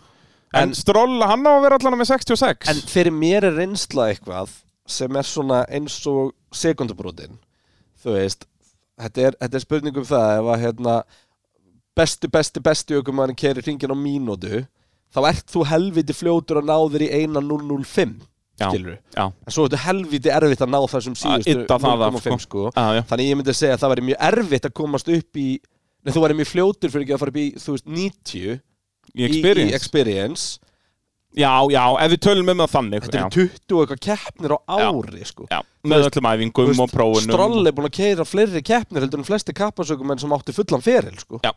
En Stroll, hann á að vera allan með 66 En fyrir mér er reynsla eitthvað sem er svona eins og sekundubrótin þú veist þetta er, þetta er spurning um það ef að hérna, bestu, bestu, bestu ökum hann keri hringin á mínútu þá ert þú helviti fljótur að ná þér í 1.005 Já. skilur Já, en svo ertu helviti erfitt að ná þessum síðustu ydda það af, 0.5 sko. já, já þannig ég myndi að segja að það væri mjög erfitt að komast upp í Nei, þú væri mjög fljótur fyrir ekki að fara upp í, þú veist, 90 Í, Í í experience experience. Já, já, ef við tölum um það þannig Þetta já. eru 20 og eitthvað keppnir á ári sko. já, með öllum æfingum og um- prófunum Stroll er búin að keira fleiri keppnir heldur en flesti kappasökumenn sem átti fullan feril sko. Já.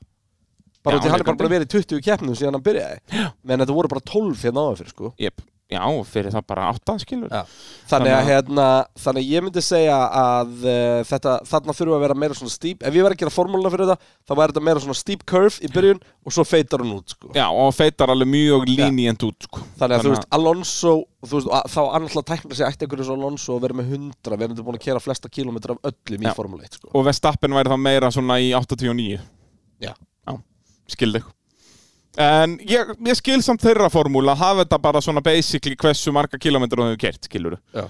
Bara Já, út í hann er bara leikandi. búin að vera í 20 keppnum síðan hann byrjaði Já. menn þetta voru bara 12 hérna áður fyrir sko. Jep, Já, og fyrir það bara átta, skilur Já. þannig, Þannig að, að- hérna, þannig að ég myndi segja að uh, þetta, þarna þurfa að vera meira svona steep ef ég verið að gera formúluna fyrir þetta þá væri þetta meira svona steep curve í byrjun og svo feitar hún út sko. Já, og feitar alveg mjög línient út sko. Þannig að þú veist, Alonso, þú veist, að- þá annars að tækna sig ætti einhverjum svo Alonso að vera með 100, við erum þetta búin að kera flesta kílómetra af öllum Já. í Formule 1, sko. Og Vestappen væri það meira svona í 89 Já. skildi En ég, ég skil samt þeirra formúla hafa þetta bara svona basically hversu marga kilometrar þú hefur kert, skilur Já.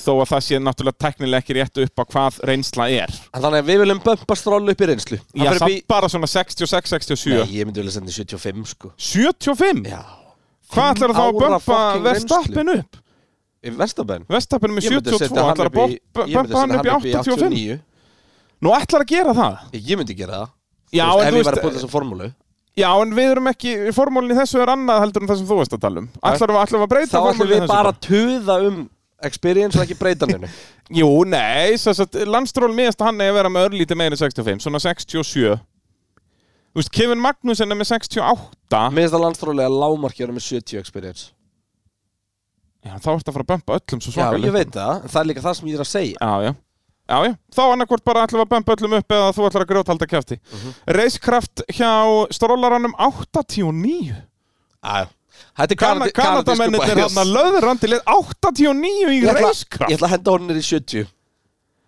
Þó að það sé náttúrulega teknilega ekki rétt upp á hvað reynsla er En þannig að við viljum bömpa stról upp í reynslu. Hann Já, fer upp samt í- bara svona 66, 67 Nei, ég myndi vilja senda í 75, sko. 75? Já. Hvað ætlar þá að bömpa Vestappen upp? Vestappen? Vestappen er með 72, ætlar að boppa- Ég myndi bömpa hann setja upp í hann upp í 85 89. Nú ætlar að gera það Ég myndi gera það. Já, Þú veist, eh, en Ef þú ég væri að búin veist, þessa formúlu. já, en við erum ekki Formúlinni þessu er annað heldur en það sem þú veist að tala um Ætlar við ætlar við Þá að breyta ætlum formúlinni við þessu bara að tuða um experience og ekki breyta henni. Jú, nei, þess að landstról miðast að hann er að vera með örlítið meira en 65, svona 67 Þú veist, Kevin Magnussen er með 68 Mér finnst að landstrólega lámarki vera með 70 experience. Já, þá ertu að fara að bömpa öllum svo Já, svakalega ég veit það, en það er líka það sem ég er að segja Já, já Já, já, þá annarkvort bara ætlum við að bæmpa öllum upp eða þú ætlar að grjóthalda kæfti. Uh Mhm. Reiskraft hjá strollaranum 89. Þetta er kanadi- Kanadamennir kanadísku hann að löðurandi hérna lið 89 í Ég ætla, ég reiskraft. ætla að henda honum niður í 70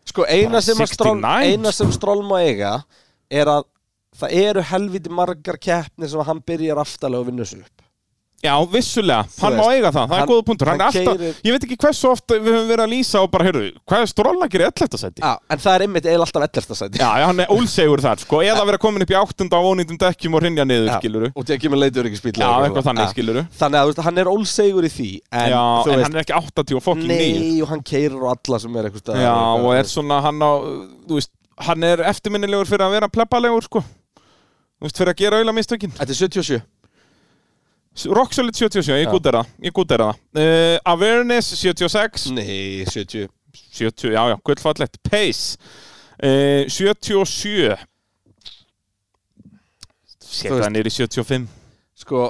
Sko eina Það er sem, að strál, 69. eina sem strál má eiga er að það eru helviti margar keppnir sem hann byrjar aftalega og vinnur sér upp Já, vissulega, hann má veist, eiga það, það er hann- góða punktur. Hann er hann alltaf, keyrir- ég veit ekki hversu ofta við höfum verið að lýsa og bara, heyrðu, hvað er strolla að gera í 11. seti? ah, En það er einmitt eða alltaf 11. sæti Já, já, hann er ólsegur þar, sko, eða vera komin upp í 8. á ónýndum dekkjum og hrinja niður, Já, skiluru. Og því að kemur leitur ekki spýtlega Já, eitthvað þannig, Ah. skiluru. Þannig að þú veist, hann er ólsegur í því En, Já, en þú hann er ekki 80 og fokkin 9. Nei, og hann keirir á alla sem er eitthvað Já, og er svona hann á, þú veist, hann er eftirminnilegur fyrir að vera plebbalegur, sko. Þú veist, fyrir að gera auðla mistökin. Þetta er 77 Rock Solid 77, ég gútið það, ég gútið það. Uh, Awareness 76, Mm. Nei, 70 70, já, já, gullfallegt. Pace uh, 77. Þú Seta veist- hann niður í 75. Sko,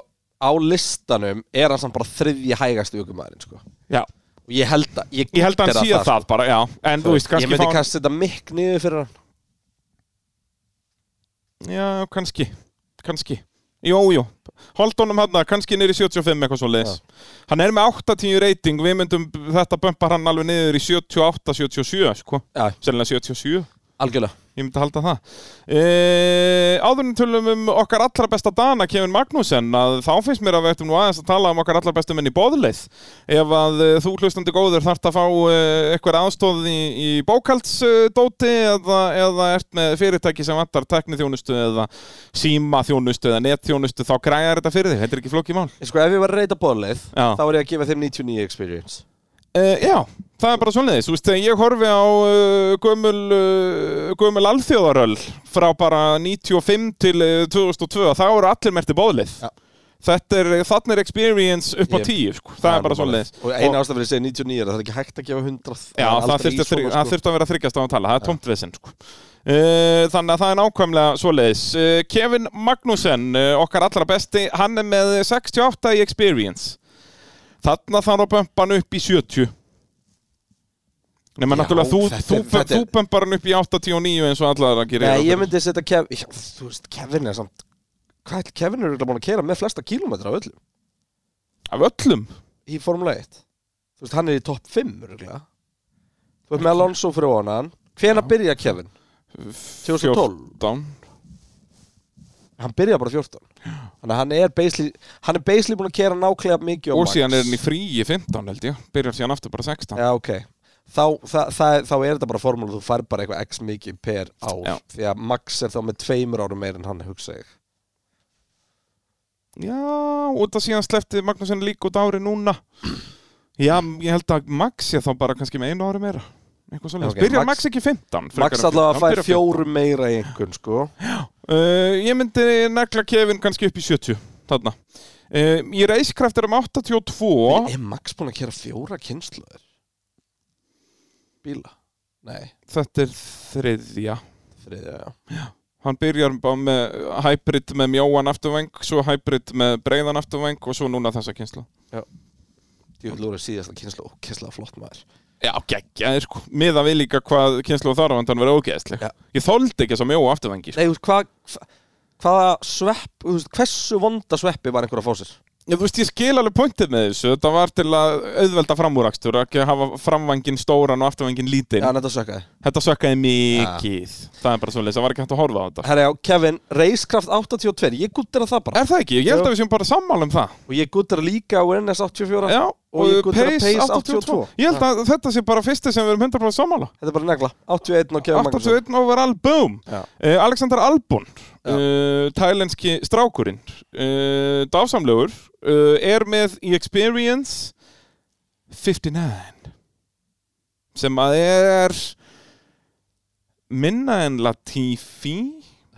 á listanum er hann samt bara þriðji hægast aukumæðurinn sko. Já, Og ég held að Ég, ég held að hann gera síða það, bara, já. En þú veist, sko. Ég kannski myndi fá- kannski setja mikk niður fyrir hann Já, kannski, kannski. Jú, jú. Holdunum hann, kannski niður í 75 eitthvað svo leis. Hann er með 80 rating, við myndum þetta bömpar hann alveg niður í 78, 77, sko. Já, Sennilega 77, algjörlega ég myndi halda það. E, áðurinn tölum um okkar allra besta dana, Kevin Magnúsen, að þá finnst mér að við ættum nú aðeins að tala um okkar allra bestu menn í bóðleið. Ef að e, þú hlustandi góður þarft að fá e, eitthvað aðstóð í, í bókaldsdóti eða, eða ert með fyrirtæki sem vantar teknithjónustu eða símaþjónustu eða netþjónustu, þá græjar þetta fyrir þig, þetta er ekki flókið mál. Sko, ef ég var að reyta bóðleið Já. Þá var ég að gefa þeim 99 experience Uh, já, það er bara svoleiðis, þú veist, þegar ég horfi á uh, gömul, uh, gömul alþjóðaröll frá bara 95 til uh, 2002, þá eru allir merti bóðlið. Já. Þetta er, þannig er experience upp á Ég- 10, sko, það er bara svoleiðis. Og eina ástæð fyrir að segja 99 er að það er ekki hægt að gefa 100 er Já, aldrei það þurfti, í að, svona, sko. þurfti að vera þryggjast á að tala, það er tómt vesinn sko. Uh, þannig að það er nákvæmlega svoleiðis uh, Kevin Magnussen, uh, okkar allra besti hann er með 68 í experience þannig að þannig að bömpa hann upp í 70 nema Já, náttúrulega þú, þetta er- þú, þetta er- þú bömpar hann upp í 89 eins og allar að gera Nei, ég myndi setja Kevin já, Þú veist, Kevin er samt Hvað ætli Kevin er eiginlega búin að kera með flesta kílómetra af öllum af öllum í Formule 1 Þú veist, hann er í topp 5 ruglega. Þú veist með Alonso fyrir honan Hvena byrja Kevin? 2012 14. Hann byrja bara 14 Þannig að hann er basically Hann er basically búin að kera náklega mikið á og Max. síðan er hann í fríi 15 held ég byrjar síðan aftur bara 16 Já, ok Þá, það, það, þá er þetta bara formúla, þú fær bara eitthvað x mikið per ár Já. Því að Max er þá með tveimur árum meir en hann hugsa ég Já, út að síðan slefti Magnúsin líka út ári núna Já, ég held að Max ég þá bara kannski með einu ári meira Eitthvað svoleiðis. Ok, Byrjar Max- Max ekki 15? frekar Max en allavega 14, fær byrjar 15. fjórum meira í einhvern sko Uh, Ég myndi negla Kevin kannski upp í 70 Þarna uh, Í reiskraft er um 82 Er Max búin að kera fjóra kynsluður? Bíla? Nei, Þetta er þriðja þriðja, já Hann byrjar bara með hybrid með mjóan afturvæng Svo hybrid með breiðan afturvæng Og svo núna þessa kynsla Ég vil úr að síðasta kynslu ókesslega flott maður Já, geggjaðir sko Miða við líka hvað kynslu og þarfandan verið ógeðsleg Já. Ég þoldi ekki þess að mjóa afturvengi Nei, þú veist, hvað hva, hvaða svepp, þú veist, hversu vonda sveppi var einhver að fá sér? Já, þú veist, ég skil alveg pointið með þessu. Þetta var til að auðvelda framúrakstur, ekki að hafa framvangin stóran og afturvangin Já, lítinn. en þetta sökkaði Þetta sökkaði mikið. Það er bara svoleiðis, það var ekki hægt að horfa á þetta. Herra já, Kevin, Reiskraft 82, ég gúttir að það bara Er það ekki? Ég held Jú. að við séum bara sammála um það. Og ég gúttir að líka á NS 84 Já, Og ég guddar að Pace 82. Ég held að þetta sé bara fyrsti sem við erum 100% sammála. Þetta er bara negla, 81 og Kevin Magnússon 81 overall, boom! Já. Uh, Alexander Albon, Já. uh, tælenski strákurinn, uh, dásamlegur, uh, er með í Experience 59 sem að er minna en Latifi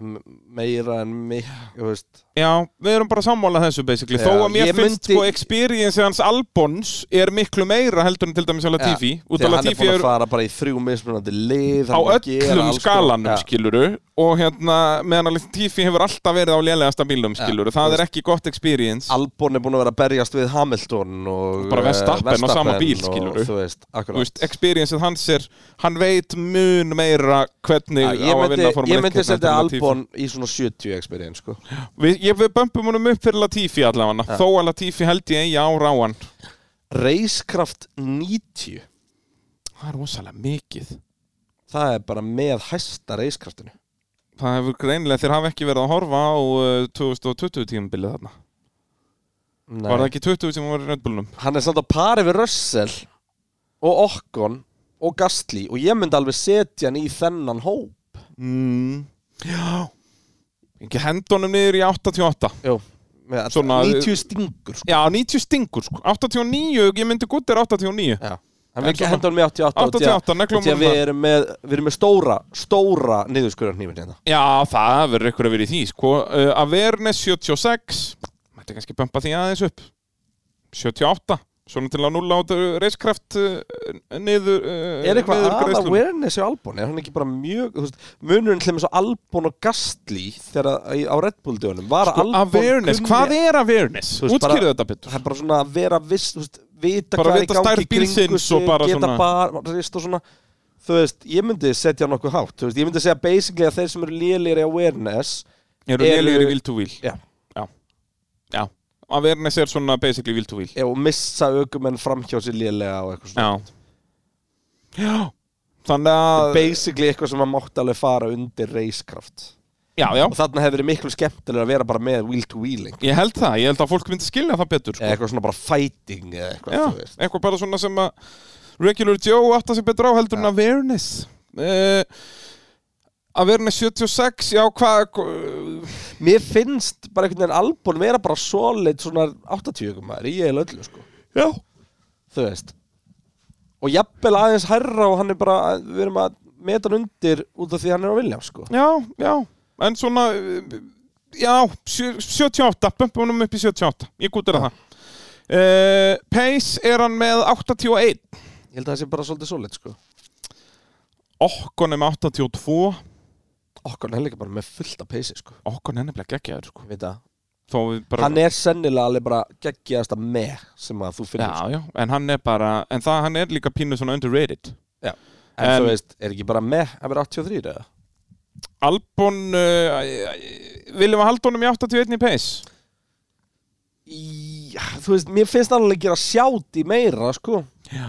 m- meira en mig þú veist, Já, við erum bara sammála þessu basically Já, Þó að mér ég finnst myndi- sko experience hans Albons er miklu meira heldur en til dæmis alveg Latifi Út þegar hann af er Latifi búin er að fara bara í þrjú mismunandi lið á hann er að gera öllum alls konar- skalanum Já. skiluru Og hérna, meðan að Latifi hefur alltaf verið á lélegasta bílum skiluru Það er ekki gott experience Albon er búin að vera að berjast við Hamilton og Bara eh, Verstappen á sama Verstappen bíl, og skilurðu. þú veist, Þú akkurat veist, experienceð hans er Hann veit mun meira hvernig ég á að myndi, vinna Formule hérna ég 1 myndi keppni setja heldur en Latifi. Albon í svona 70 experience sko. Við, ég, við bömpum honum upp fyrir Latifi allavega Þó að Latifi held ég eigi ár á hann Reiskraft 90 Það er rosalega mikið það er bara með hæsta reiskraftinu Það hefur greinilega, þeir hafa ekki verið að horfa á uh, 2020 tímabilið þarna Var það ekki 20 sem var í röndbúlunum? hann er samt á pari við Russell og Okkon og Gastli og ég myndi alveg setja hann í þennan hó Mm. Já Ekki hendunum niður í 88 Jú, með Svona- 90 stingur sko. Já, 90 stingur sko 89, ég myndi gutt er 89 Já. hann vil En ekki svona- henda hann með 88 og því að- 88, neglum og því að honum við það. erum með, við erum með stóra stóra niðurskurðarnýfin hérna Já, það verður ykkur að vera í því sko uh, Avernes 76 Mætti kannski bömpa því aðeins upp 78 Svona til að nulla át reiskraft uh, niður uh, Er eitthvað niður að greiðslunum. awareness í Albon? Er hann ekki bara mjög, þú veist, munurinn til þess að Albon og Gastli þegar að, í- á Red Bull dögunum var að Sko, Albon Awareness, kunni- hvað er awareness? Þú veist, bara- Útskýrðu þetta betur Það er bara svona að vera viss, þú veist, vita Bara hvað er í vita gangi stærð í kringu bílsins og sig, bara geta svona- bara, rist og svona Þú veist, ég myndi setja nokkuð hátt, þú veist, ég myndi segja basically að þeir sem eru lélir í awareness Eru Eru- lélegir í will to wheel Já. Já, já. Awareness er svona basically will to wheel eh, og missa aukumenn framhjá sér lélega og eitthvað svona Já Já Þannig að Basically eitthvað sem að mátt alveg fara undir reiskraft Já, já Og þarna hefur verið miklu skemmtilega að vera bara með wheel to wheeling Ég held það, ég held að fólk myndi skilja það betur sko. Eða eitthvað svona bara fighting eða eitthvað, Já, þú veist eitthvað bara svona sem að Regular Joe átta sig betur á heldur en awareness uh, Awareness 76, já hvað hva, Mér finnst bara einhvern veginn Albon vera bara solid svona 80 maður í eða öllu sko Já þú veist og jafnvel aðeins hærra og hann er bara við erum að meta hann undir út af því hann er á vilja sko Já, já En svona, eh, já, sjö- 78 Bömpum honum upp í 78, ég gútur að það uh, Pace er hann með 81 ég held að það sé bara svolítið solid sko Okkon er með 82 okkur hann er líka bara með fullt af peysi sko Okkon er nefnilega geggjaður sko. Ég veit það. Þó við bara hann er sennilega alveg bara geggjast að með sem að þú Já, finnir sko. já, en hann er bara En það, hann er líka pínu svona underrated en, En- þú veist, er ekki bara með að vera 83 eða? Albon uh, Viljum við halda honum í 81 í Pace? Já, þú veist, mér finnst hann alveg gera sjátt í meira sko Já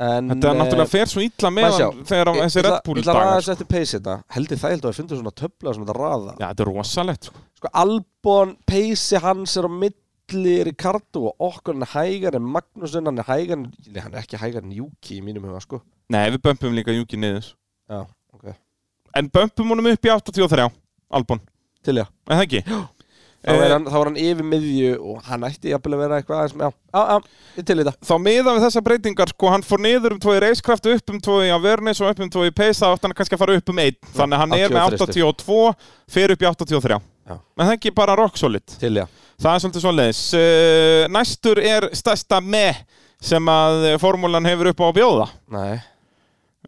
en, Þetta er náttúrulega fer svo illa með maður hann Þegar hann- þessi Red Bull Ég ætla að dagar sko. ræða eftir peysi þetta Heldur það, ég held að við fundum svona töfla sem þetta raða Já, þetta er rosalegt sko. sko Albon, peysi hans er á milli Ricardo og okkur hann er hægar en Magnússon, hann er hægar en, nei, hann er ekki hægar en Juki í mínum huga, sko Nei, við bömpum líka Júki niður Já, ok En bömpum honum upp í 83 Albon, Til já, er það ekki? þá Eh, er hann, þá er hann yfir miðju og hann ætti jafnvel að vera eitthvað aðeins með, já, já, já, ég til í þetta þá miða við þessar breytingar sko, hann fór niður um 2 í reiskraft, upp um 2 í avernis og upp um 2 í pace, þá átti hann kannski að fara upp um 1 þannig að hann er með 83. 82 fer upp í 83 Já. en það er ekki bara rock solid Til já, það er svolítið svoleiðis uh, næstur er stærsta með sem að formúlan hefur upp á að bjóða nei,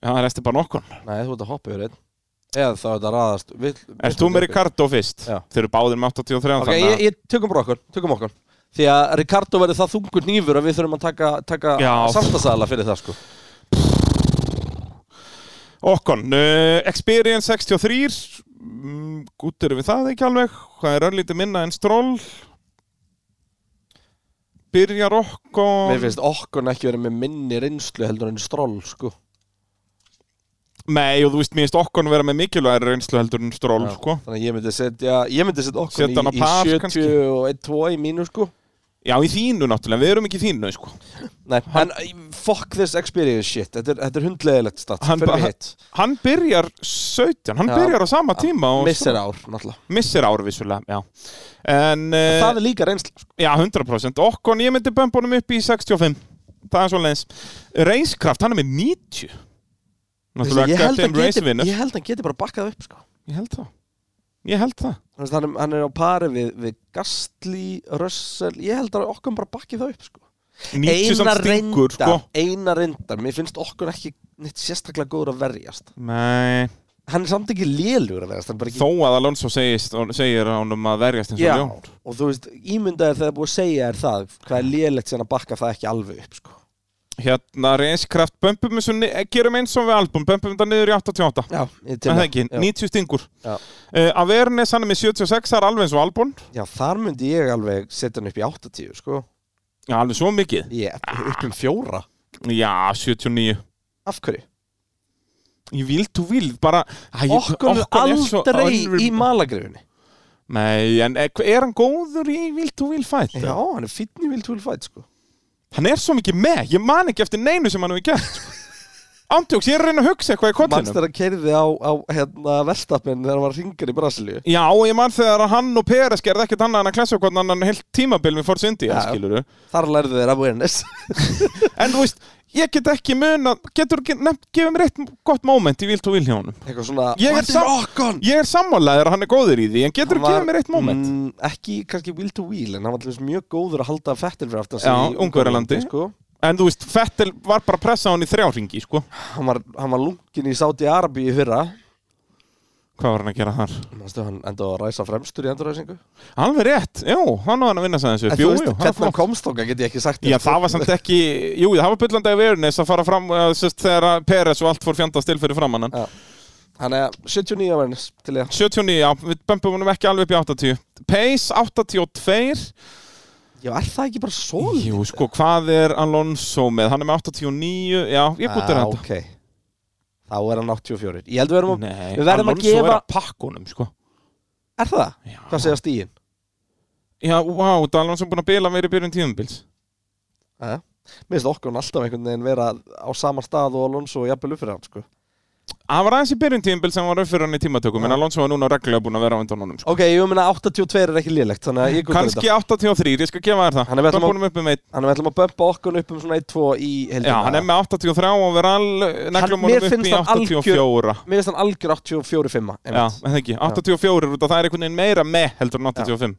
já, það er eftir bara nokkun nei, þú ert að hoppa yfir einn Eða þá er þetta raðast vill, Erst þú með Ricardo fyrst? Já. Þeir eru báðir með 83 Ok, þannig ég, að- ég tökum bara okkur, tökum okkur Því að Ricardo verður það þungur nýfur að við þurfum að taka, taka Já. samstagsæðala fyrir það, sko Okkon, uh, Experience 63 mm, Gútt eru við það ekki alveg Hvað er örlítið minna en stról Byrjar Mér Okkon finnst okkur ekki verið með minni reynslu heldur en stról, sko Nei, og þú veist, mér finnst Okkon vera með mikilvægri reynslu heldur en stról Já, sko. Þannig að ég myndi setja Ég myndi setja okkur Setja hann á í, í par, 70 kannski? og 1, 2 í mínu sko Já, í þínu náttúrulega, við erum ekki í þínu sko. Nei, en fuck this experience shit Þetta er, þetta er hundlegilegt start Hann Fyrir bara- hitt Hann byrjar 17 Hann Já. byrjar á sama tíma og Missir ár, náttúrulega missir ár vissulega já. En, uh, Það er líka reynsla sko. já, 100% Okkon, ég myndi bömbunum upp í 65 Það er svo leins Reiskraft, hann er með 90 Ég held að Captain Race geti- vinnur ég held að hann geti bara bakkað upp sko Ég held það ég held það Þú veist, hann, er- hann er á pari við, við Gastli, Russell ég held að okkur bara bakki það upp sko. 90 samt stingur, sko einar reyndar, mér finnst okkur ekki neitt sérstaklega góður að verjast Nei, hann er samt ekki lélugur að verjast hann er bara ekki þó að Alonso segist, segir honum að verjast eins og Já, ljón og þú veist, ímyndaði þegar búið að segja er það hvað er lélegt sem að bakka það ekki alveg upp sko. Hérna, reynskraft, bömpum eins og ni- eh, gerum eins og við album, bömpum þetta niður í 88 Já, ég til En það það. ekki, Já. 90 stingur Já. uh, Avernes, hann er með 76, það er alveg eins og album Já, þar myndi ég alveg setja hann upp í 80 sko. Já, alveg svo mikið ég, upp um fjóra Já, 79 af hverju? Ég vil, þú vil, bara Æ, ég- Okkur er svo aldrei önnur- í malagrifinni Nei, en e- hva- er hann góður í vil, þú vil fætt? Já, hann er fínn í Viltúl Fight sko. Hann er svo mikið með, ég man ekki eftir neinu sem hann hefur gert Ándjóks, ég er að reyna að hugsa eitthvað í Manst kollinum þegar hann keiriði á, á hérna, verstafinn þegar hann var ringar í Brasilíu Já, ég man þegar hann og Peres gerði ekkert annað en að klessa okkur annan heilt tímabil með Force India, Já. skilur Þar lærðu þeir awareness En þú veist, ég get ekki muna, getur ekki nefnt, gefið mér eitt gott moment í Vilt og Viljónum. Eitthvað svona Ég er What is sam- rock on? Ég er sammálaður að hann er góður í því, en Hann getur ekki var, gefið mér eitt moment? mm, ekki kannski wheel to wheel en hann var til dæmis mjög góður að halda fettil fyrir aftan sig í Já, Ungverjalandi. sko. En þú veist, Fettel var bara að pressa hann í þrjá ringi, sko. hann, var, hann var lunkin í Saudi Arabi í fyrra Hvað var hann að gera þar? Manstu, hann endaði að ræsa fremstur í endurræsingu Alveg rétt, jú, hann var hann að vinna sæðins en upp, þú jú, veist jú, hann hvernig fór. hann komst þóka get ég ekki sagt þér, Já, það sko. var samt ekki, jú, það var byllandi að verunis að fara fram, uh, sérst, þegar að Peres og allt fór fjandast til fyrir framann hann. Já. hann er 79 verðins til ég 79, já, við bömpum honum ekki alveg upp í 80. Pace, 82. já er það ekki bara svolít Jú, sko, hvað er Alonso með? Hann er með 89, já, ég bútið ah, þetta. ok þá er hann 84 ég held við verðum að Nei, við verðum að Alonso gefa- er að pakkunum, sko. er það Já. hvað segja stíin Já, vá, wow, Alonso er búin að bila meira í byrjun tíðumbils. Mér finnst okkur hann alltaf einhvern veginn vera á sama stað og Alonso og jafnvel upp fyrir hann sko. Hann var aðeins í byrjun tíðumbils sem var upp fyrir hann í tímatökum, en Alonso er núna reglulega búin að vera á undan honum, sko. Ok, ég meina 82 er ekki lélegt Þannig að ég gutar þetta Kanski 83, ég skal gefa þér það. Hann er með allum- búin upp um eitt. Þannig að við ætlum að bömpa okkur upp um svona 1-2 í heldina Já, hann er með 83 og við neglum mér honum upp finnst í hann algjör- 84. Mér finnst hann algjör 84-5 Já, en það ekki. 84 er út að það er einhvern veginn meira með heldur en 85.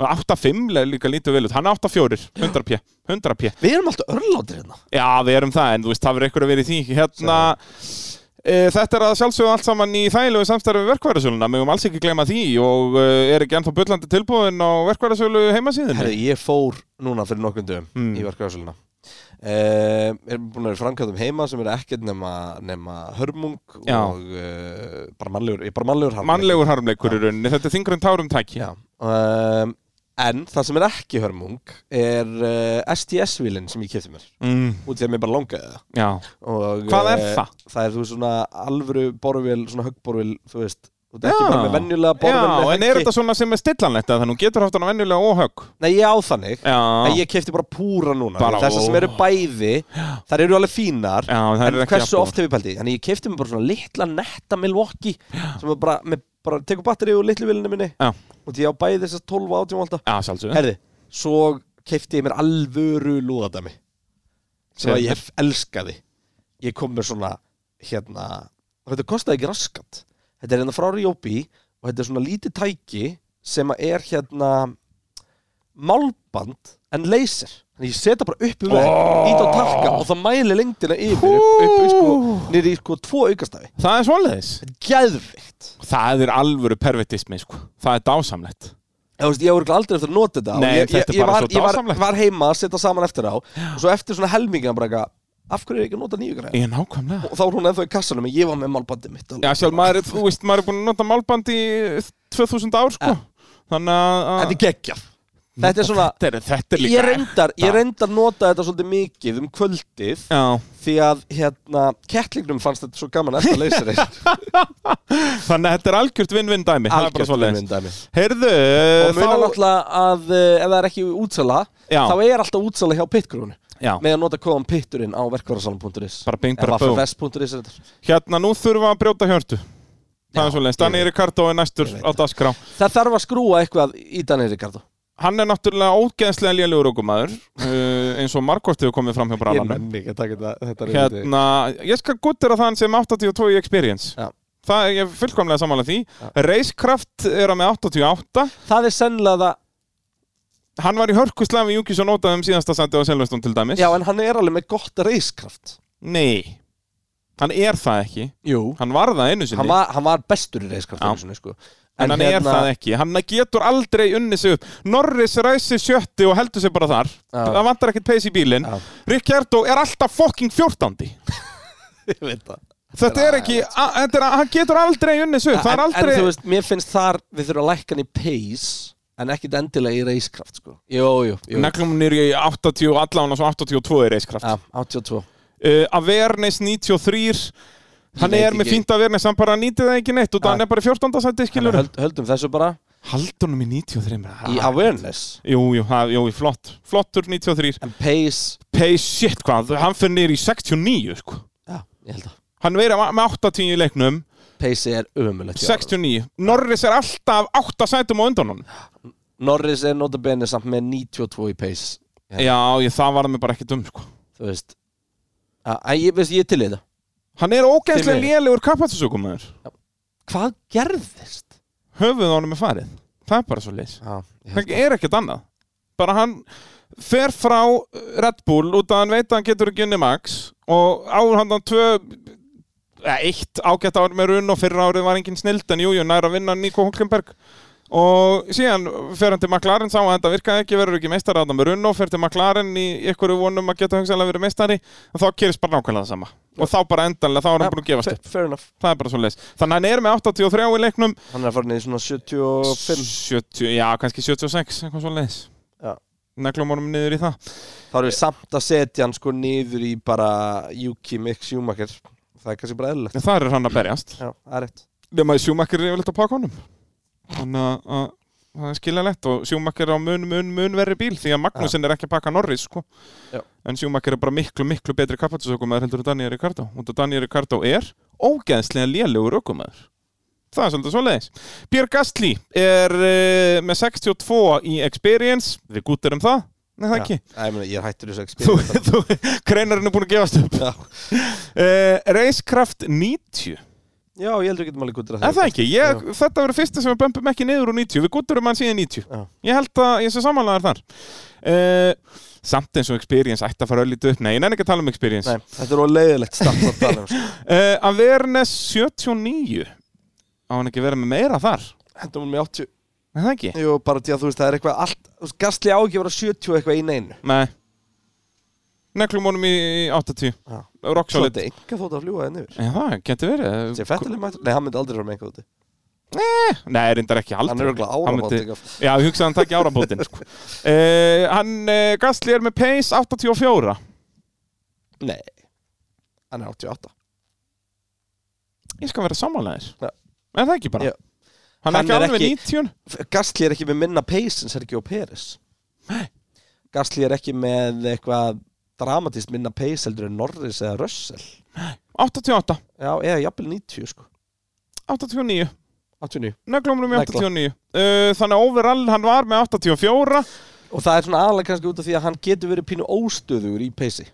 Og 85 le- líka lítið vel út. Hann er 84, 100 p. 100 p. Við erum alltaf örlátir hérna Já, við erum það, en þú veist, það verður eitthvað að vera í því Hérna, e, þetta er að sjálfsögðu allt saman í þægilegu samstarfi við verkværasöluna, mögum alls ekki gleyma því og e, er ekki ennþá bullandi tilbúin á verkværasölu heimasíðinni Herri, ég fór núna fyrir nokkrum dögum Mm. í verkefæðsöluna Uh, erum búin að vera framkvæmdum heima sem eru ekkert nema, nema hörmung Já. og uh, bara mannlegur, ég er bara mannlegur harmleikur. Mannlegur harmleikur í rauninni, þetta er þingur en tárum tæki Já, um, en það sem er ekki hörmung er uh, STS-vílinn sem ég kefti mér mm, út í að mér bara langaði það já. og, Hvað er eh, það? Það er þú veist, svona alvöru borvél, svona höggborvél, þú veist Þú ert Já. ekki bara með venjulega borvél Já, með en er þetta svona sem er stillanlegt að þannig getur haft hana venjulega óhaug Nei, ég á þannig Já, En ég kefti bara púra núna Bara, Þessar sem ó. eru bæði, þær eru alveg fínar já það En er ekki hversu jafnbúðar. oft hefur pælt í því? Þannig ég kefti mér bara svona litla netta Milwaukee Sem er bara, með, bara tekur batteri úr litlu vilinu minni Já. Og því ég á bæði þessar 12 og 18 volta Já, sjálfsögðu Herði, svo kefti ég mér alvöru lúðadæmi Sem að ég elskaði Ég kom með svona, hérna og Þetta kostaði ekki raskat Þetta er hérna frá Ryobi Og þetta er svona lítið tæki Sem að er hérna Málband en laser Þannig ég seta bara upp um vegg, Oh. ít á takka og það mæli lengdina yfir upp, upp, upp sko, nýri sko tvo aukastafi Það er svoleiðis Gæðvikt Það er alvöru pervertismi, sko Það er dásamlegt Ég, veist, ég var örugglega aldrei eftir að nota þetta og Nei, ég, þetta ég, er ég, bara var, svo ég var, dásamlegt. var heima að setja saman eftir á og svo eftir svona helmingan bara eitthvað, af hverju er ég ekki að nota nýju græða Ég er nákvæmlega og þá er hún ennþá í kassanum en ég var með málbandið mitt alveg. Já, sjálf maður, er- þú veist, maður er búin að nota málband í 2000 ár, sko. Þannig að... þetta er geggjaf þetta er svona, þetta er, þetta er líka... ég reyndar ég reyndar nota þetta svolítið mikið um kvöldið Já, því að hérna, kettlingnum fannst þetta svo gaman eftir að leysa þetta þannig að þetta er algjört vinn-vinn dæmi. Það er bara svoleiðis. dæmi Heyrðu, og munar þá... náttúrulega að eh, ef það er ekki útsala Já. þá er alltaf útsala hjá pitgrúnu Já, með að nota kóðan pitturinn á verkvarasalum.is bara bing, bara bú. ffs.is Hérna, nú þurfum við að brjóta hjörtu. Það Já, er svoleiðis. ég Danni veit. Ricardo er næstur Ég veit á dasgrá. það þarf að skrúa eitthvað í Danir Ricardo Hann er náttúrulega ógeðslega lélugur okkumæður, uh, eins og Markost hefur komið fram hjá Bralanum. ekki að taka þetta, þetta Hérna, ég skal guttir að það hann sem 82 í experience. Já. það er ég fullkomlega sammála því Reiskraft er að með 88 Það er sennilega það, Hann var í hörkuslam við Júkis og notaði um síðasta sandi á Selvestón til dæmis Já, en hann er alveg með gott reiskraft Nei, hann er það ekki Jú Hann var það einu sinni Hann var, hann var bestur í reiskraft Já. einu sinni, sko. En, hann er það ekki, hann getur aldrei unni sig upp Norris ræsi sjötti og heldur sig bara þar Já. Það vantar ekkert peis í bílinn Já. Ricciardo er alltaf fokking fjórtandi Ég veit það Þetta er ekki, a, þetta er, hann getur aldrei unni sig upp Það er aldrei, en, en þú veist, mér finnst þar við þurfum að lækka hann í pace en ekkit endilega í reiskraft sko. Jú, jú, jú neglum hún er í 80 allan og svo 82 í reiskraft ja, 82 uh, Avernes 93 Ég Hann veit er með ekki. fínt Avernes, hann bara nýtið það ekki neitt og Já. það hann er bara í 14. sæti Þannig skilur höld, höldum þessu bara Haldunum í 93 það- í awareness Jú, jú, það- jú, flott Flottur 93 en pace Pace, shit hvað, hann fyrir niður í 69 sko. já, ég held að Hann verið með 80 í leiknum pace er ömulegt 69, Norris er alltaf 8 sætum á undan hann Norris er nota bene samt með 92 í pace Já. Já, ég, það var mig bara ekki dum sko. þú veist að, að ég veist ég er til í það Hann er ógænslega Fyrir mig. lélegur kapatisökum hvað gerðist? Höfuð honum er farið Það er bara svo leys Já, ég held Það er ekkert annað Bara hann fer frá Red Bull út að hann veit að hann getur ekki unni Max og á hann hann tvö eða eitt ágætt ár með runn og fyrra árið var engin snild en jújú, nær að vinna Nico Hulkenberg og síðan fer hann til McLaren sá að þetta virkaði ekki, verður ekki meistari þarna með runn og fer til McLaren í ykkur vonum að geta hugsaðlega verið meistari og þá gerist bara nákvæmlega það sama og þá bara endanlega, þá er hann búin að gefast upp fair enough það er bara svo leis, þannig að hann er með 83 í leiknum hann er farin í svona 75 70, já, kannski 76, eitthvað svo leis Já. Neglum honum niður í það þá erum við samt að setja hann sko niður í bara Yuki Mick Schumacher það er kannski bara eðlilegt En þar er hann að berjast já, það er rétt Nefna að sjúmakkar er yfirleitt á pakkanum Þannig að- að það er skiljalegt og sjúmakkar er á mun, mun, mun verri bíl því að Magnúsin er ekki að pakka Norris sko. Já. en sjúmakkar er bara miklu, miklu betri kappatisökum að heldur en Daniel Ricardo og það Daniel Ricardo er ógeðslega lélegur ökumæður Það er svolítið svoleiðis. Pierre Gasly er uh, með 62 í Experience. Við gúttir um það. Nei, það Já. ekki. Æ, ég, meina, ég er hættur þessu Þú, eksperiment þú, kreinarinn er búin að gefast upp. já. Uh, Racecraft 90 já, ég heldur ekki að maður líka út Er það ekki? Ég, þetta verður fyrsta sem við bömpum ekki niður úr 90 Við gutturum hann síðan 90 Já. Ég held að ég sé samanlegaður þar uh, Samt eins og experience ætti að fara öllítið upp Nei, ég nenni ekki að tala um experience Eh, uh, Nei, þetta er óleiðilegt stafn að tala um sko. Avernes 79 Á hann ekki verið með meira þar Hentum hún með 80 Er það ekki? Jú, bara til að þú veist, það er eitthvað allt þú veist, Gastli á ekki að vera 70 eitthvað í neinu Nei Neklum honum í í 80 Já. Rock Svo solid þetta enga þótt að fljúa henni yfir Já, það geti verið Sér fættileg mættur Nei, hann myndi aldrei vera með eitthvað úti Nei, reyndar ekki aldrei Hann er okkur Hann ára myndi- bátt eitthvað Já, ég hugsaði að hann takk í árabótin sko. uh, Hann uh, Gasly er með pace 84 Nei Hann er 88 Ég skal vera samanlegaðis Já. En það ekki bara Já. Hann er Hann ekki er alveg ekki- 90 Gastli er ekki með minna pace en Sergio Pérez Nei Gastli er ekki með eitthvað dramatist minna pace heldur en Norris eða Russell 88, Já, eða jafnvel 90 sko 89 89 Neglumrum í Negla. 89 uh, Þannig að overall hann var með 84 Og það er svona aðalega kannski út af því að hann getur verið pínu óstöðugur í pace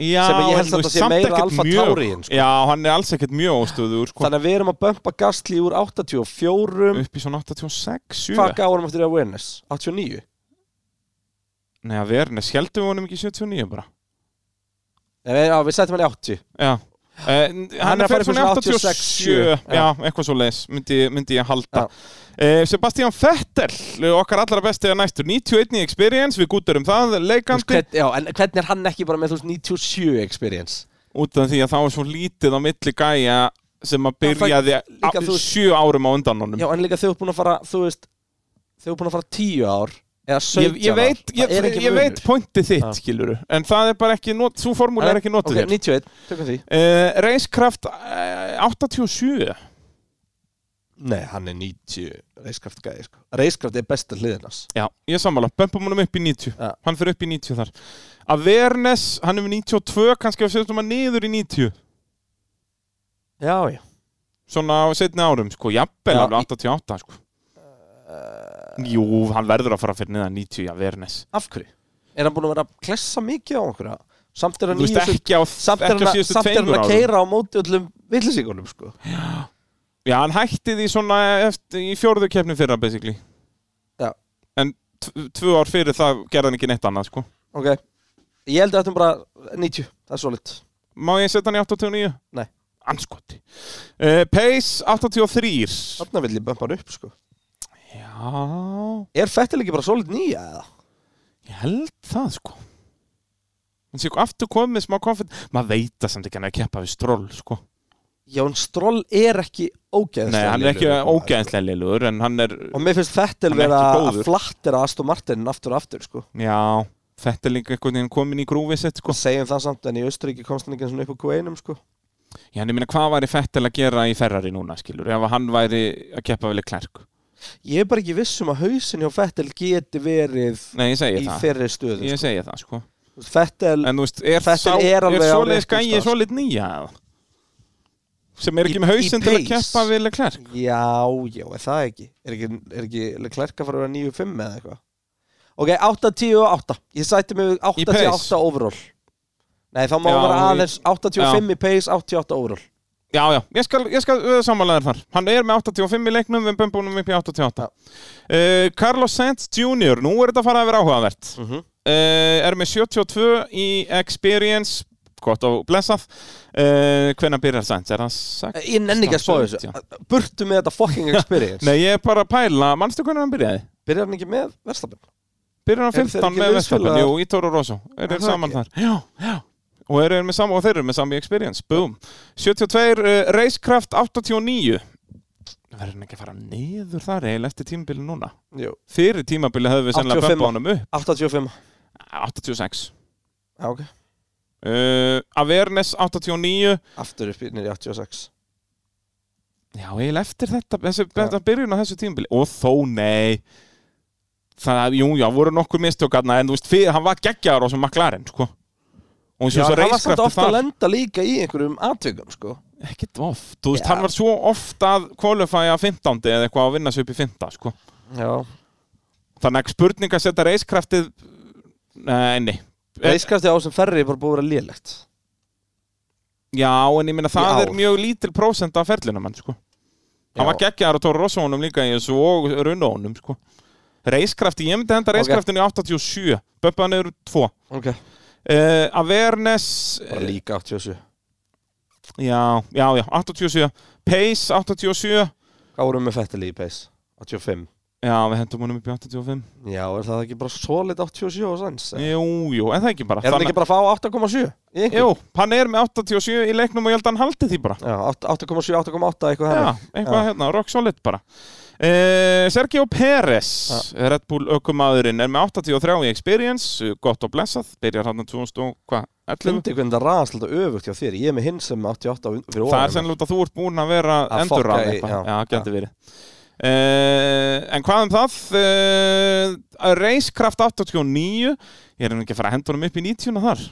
Já, Sem að ég held samt en þú að veist, sé samt meira ekkert Alfa mjög- Tauriinn, sko. Já, hann er alls ekkert mjög óstöður sko. Þannig að við erum að bömpa Gastli úr 84 Upp í svona 86 7. Hvað gaf hann eftir awareness? 89? Nei, að verðin er skjaldum honum ekki í 79 bara Nei, við- Já, við setjum hann í 80 Já Uh, hann, Hann er að fer fara svona eitthvað 87, svona já. 86, eitthvað svo leis, myndi, myndi ég halda uh, Sebastian Vettel, uh, okkar allra besti að næstur 91 í Experience, við gútur um það, Þú veist, leikandi hvern, Já, en hvernig er hann ekki bara með þú veist 97 experience? út af því að það var svo lítið á milli gæja sem að Já, það- byrjaði líka á- þú- sjö árum á undan honum Já, en líka þau er búin að fara, þú veist Þau er búin að fara 10 ár Eða 17 ég, ég veit, ár ég, Það er ég veit pointið þitt, Já. skiluru en það er bara ekki, not, svo formúla er ekki notuð okay, okay, 91, tökum því uh, Reiskraft uh, 87 Nei, hann er 90 reiskraft gæði sko. Reiskraft er besta hliðinas já, ég sammála, bömpum honum upp í 90 Já. hann fyrir upp í 90 þar Avernes, hann er með 92 kannski að setjum hann niður í 90 Já, já svona á setni árum, sko, jafnvel Já, alveg 88 sko. jú, hann verður að fara fyrir niðan 90 í Avernes Af hverju? Er hann búin að vera að klessa mikið á einhverja? Samt er hann Þú í veist þessu ekki á Samt er ekki á hann að- síðustu samt er hann tveimur að árum keira á móti öllum villisíkunum sko. Já, hann hætti því svona eftir, í fjórðu keppni fyrra, basically. Já. En tv- tvö ár fyrir það gerði hann ekki neitt annað, sko. Ok Ég held að þetta er bara 90 Það er solid Má ég setja hann í 89? Nei. Anskoti. Uh, Pace 83. Þarna vil ég bömpa hann upp sko Já, Er Fettil ekki bara solid nýja eða? ég held það, sko. Hann sé aftur komið smá konfett. Maður veit það samt ekki hann er að keppa við stról, sko. Jón Stroll er ekki ógeðslega Nei, hann er ekki lélegur. ógeðslega liður, en hann er, Og mér finnst Fettil Hann er vera ekki að góður. flattera Aston Martin aftur og aftur sko já, þetta er líka einhvern veginn komin í grúfið sitt, sko. Segjum það samt en í Austuríki komst hann ekki einu sinni upp á Q1 sko Já, en ég meina, hvað væri Fettel að gera í Ferrari núna, skilur? Ef hann væri að keppa vel í klærk. Ég er bara ekki viss um að hausin hjá Fettil geti verið Nei, ég segi í það. fyrri stöðu Ég segi það, sko. sko. Fettil En þú veist, er, Vettel sá, er er, alveg á er svoleiðis réttum gæið stað. svoleið nýja? eða? Sem er Í- ekki með í hausinn til að pace. keppa vel í klærk? Já, já, er það ekki? Er ekki, er ekki Leclerc að fara að vera 9-5 eða eitthvað? Ok, 8-10 og 8 Ég sætti mig við Í pace? 8-10-8 overall Nei, þá má Já, hann vera í- aðeins 85 í pace, 88 overall Já, já, ég skal, ég skal uh, sammálaður þar. Hann er með 85 í leiknum, við erum búin upp í 88. Uh, Carlos Sainz Jr., nú er þetta að fara að vera áhugavert. mm -hmm. uh, er með 72 í experience gott og blessað uh, hvenna byrjar Sainz, er það sagt? Eh, Ég nenni ekki að spá þessu 17. Burtu með þetta fucking experience Nei, ég er bara að pæla, mannstu hvernig hann byrjaði? Byrjar hann ekki með verstafinn? Byrjar hann Eru þeir 15 ekki með liðsfélagar? Vestapen, jú, í Toro Rosso Er eru þeir það saman ekki? þar, já, já og, eru þeir með sama, og þeir eru með sami experience, boom 72, uh, Racecraft 89 verður hann ekki að fara niður þar eiginlega eftir tímabili núna Jú, fyrir tímabili höfum við sennilega 85. bömpa honum upp 85 Ah, 86 Já, ok uh, Avernes 89 Aftur upp í nýri 86 Já, eiginlega eftir þetta, þessi, þetta byrjun á þessu tímabili og þó nei það, jú, já, voru nokkur mistökarna en þú veist, fyrir, hann var geggjaður á sem McLaren, sko og eins Já, og svo hann var samt reiskrafti ofta að það lenda líka í einhverjum atvikum, sko ekkert oft, þú veist, Já. hann var svo oft að kvalifæja 15. eða eitthvað að vinna sig upp í 15, sko, Já þannig að spurning að setja reiskraftið nei, nei, Eh. Reiskrafti á sem ferri er bara búið að vera lélegt já, en ég meina það Já. er mjög lítil prósent af ferlinum hann, sko hann Já. var geggjaður á Tóra Rossónum líka í þessu og Runónum, sko reiskrafti, ég myndi henda Ok. reiskraftinu í 87 Böbbaðan eru 2 Ok uh, Avernes eh, Bara líka 87 já, já, já, 87 Pace 87 Hvað vorum við með Fettel í pace? 85 Já, við hendum honum upp í 85 Já, er það ekki bara solid 87 og sanns? Er Jú, jú, en það er ekki bara hann ekki bara að fá 8,7? í einhverju? Jú, hann er með 87 í leiknum og ég held að hann haldi því bara Já, átt- 8,7, 8,8 eitthvað Já, hennar eitthvað hérna, rock solid bara uh, Sergio Pérez Red Bull ökumadurinn er með 83 í experience, eh, gott og blessað byrjar hann 2000 og hvað, 11 Klundi hvernig það ræðast alltaf öfugt hjá þér Ég er með hinn sem er 88 og- fyrir Það er ofan sennilega út að þú ert búinn að vera Að endur fokka að í- eitthvað. já. Já, getur verið. Uh, en hvað um það? Uh, Reiskraft 89, ég er nú ekki að fara að henda honum upp í 90 þar.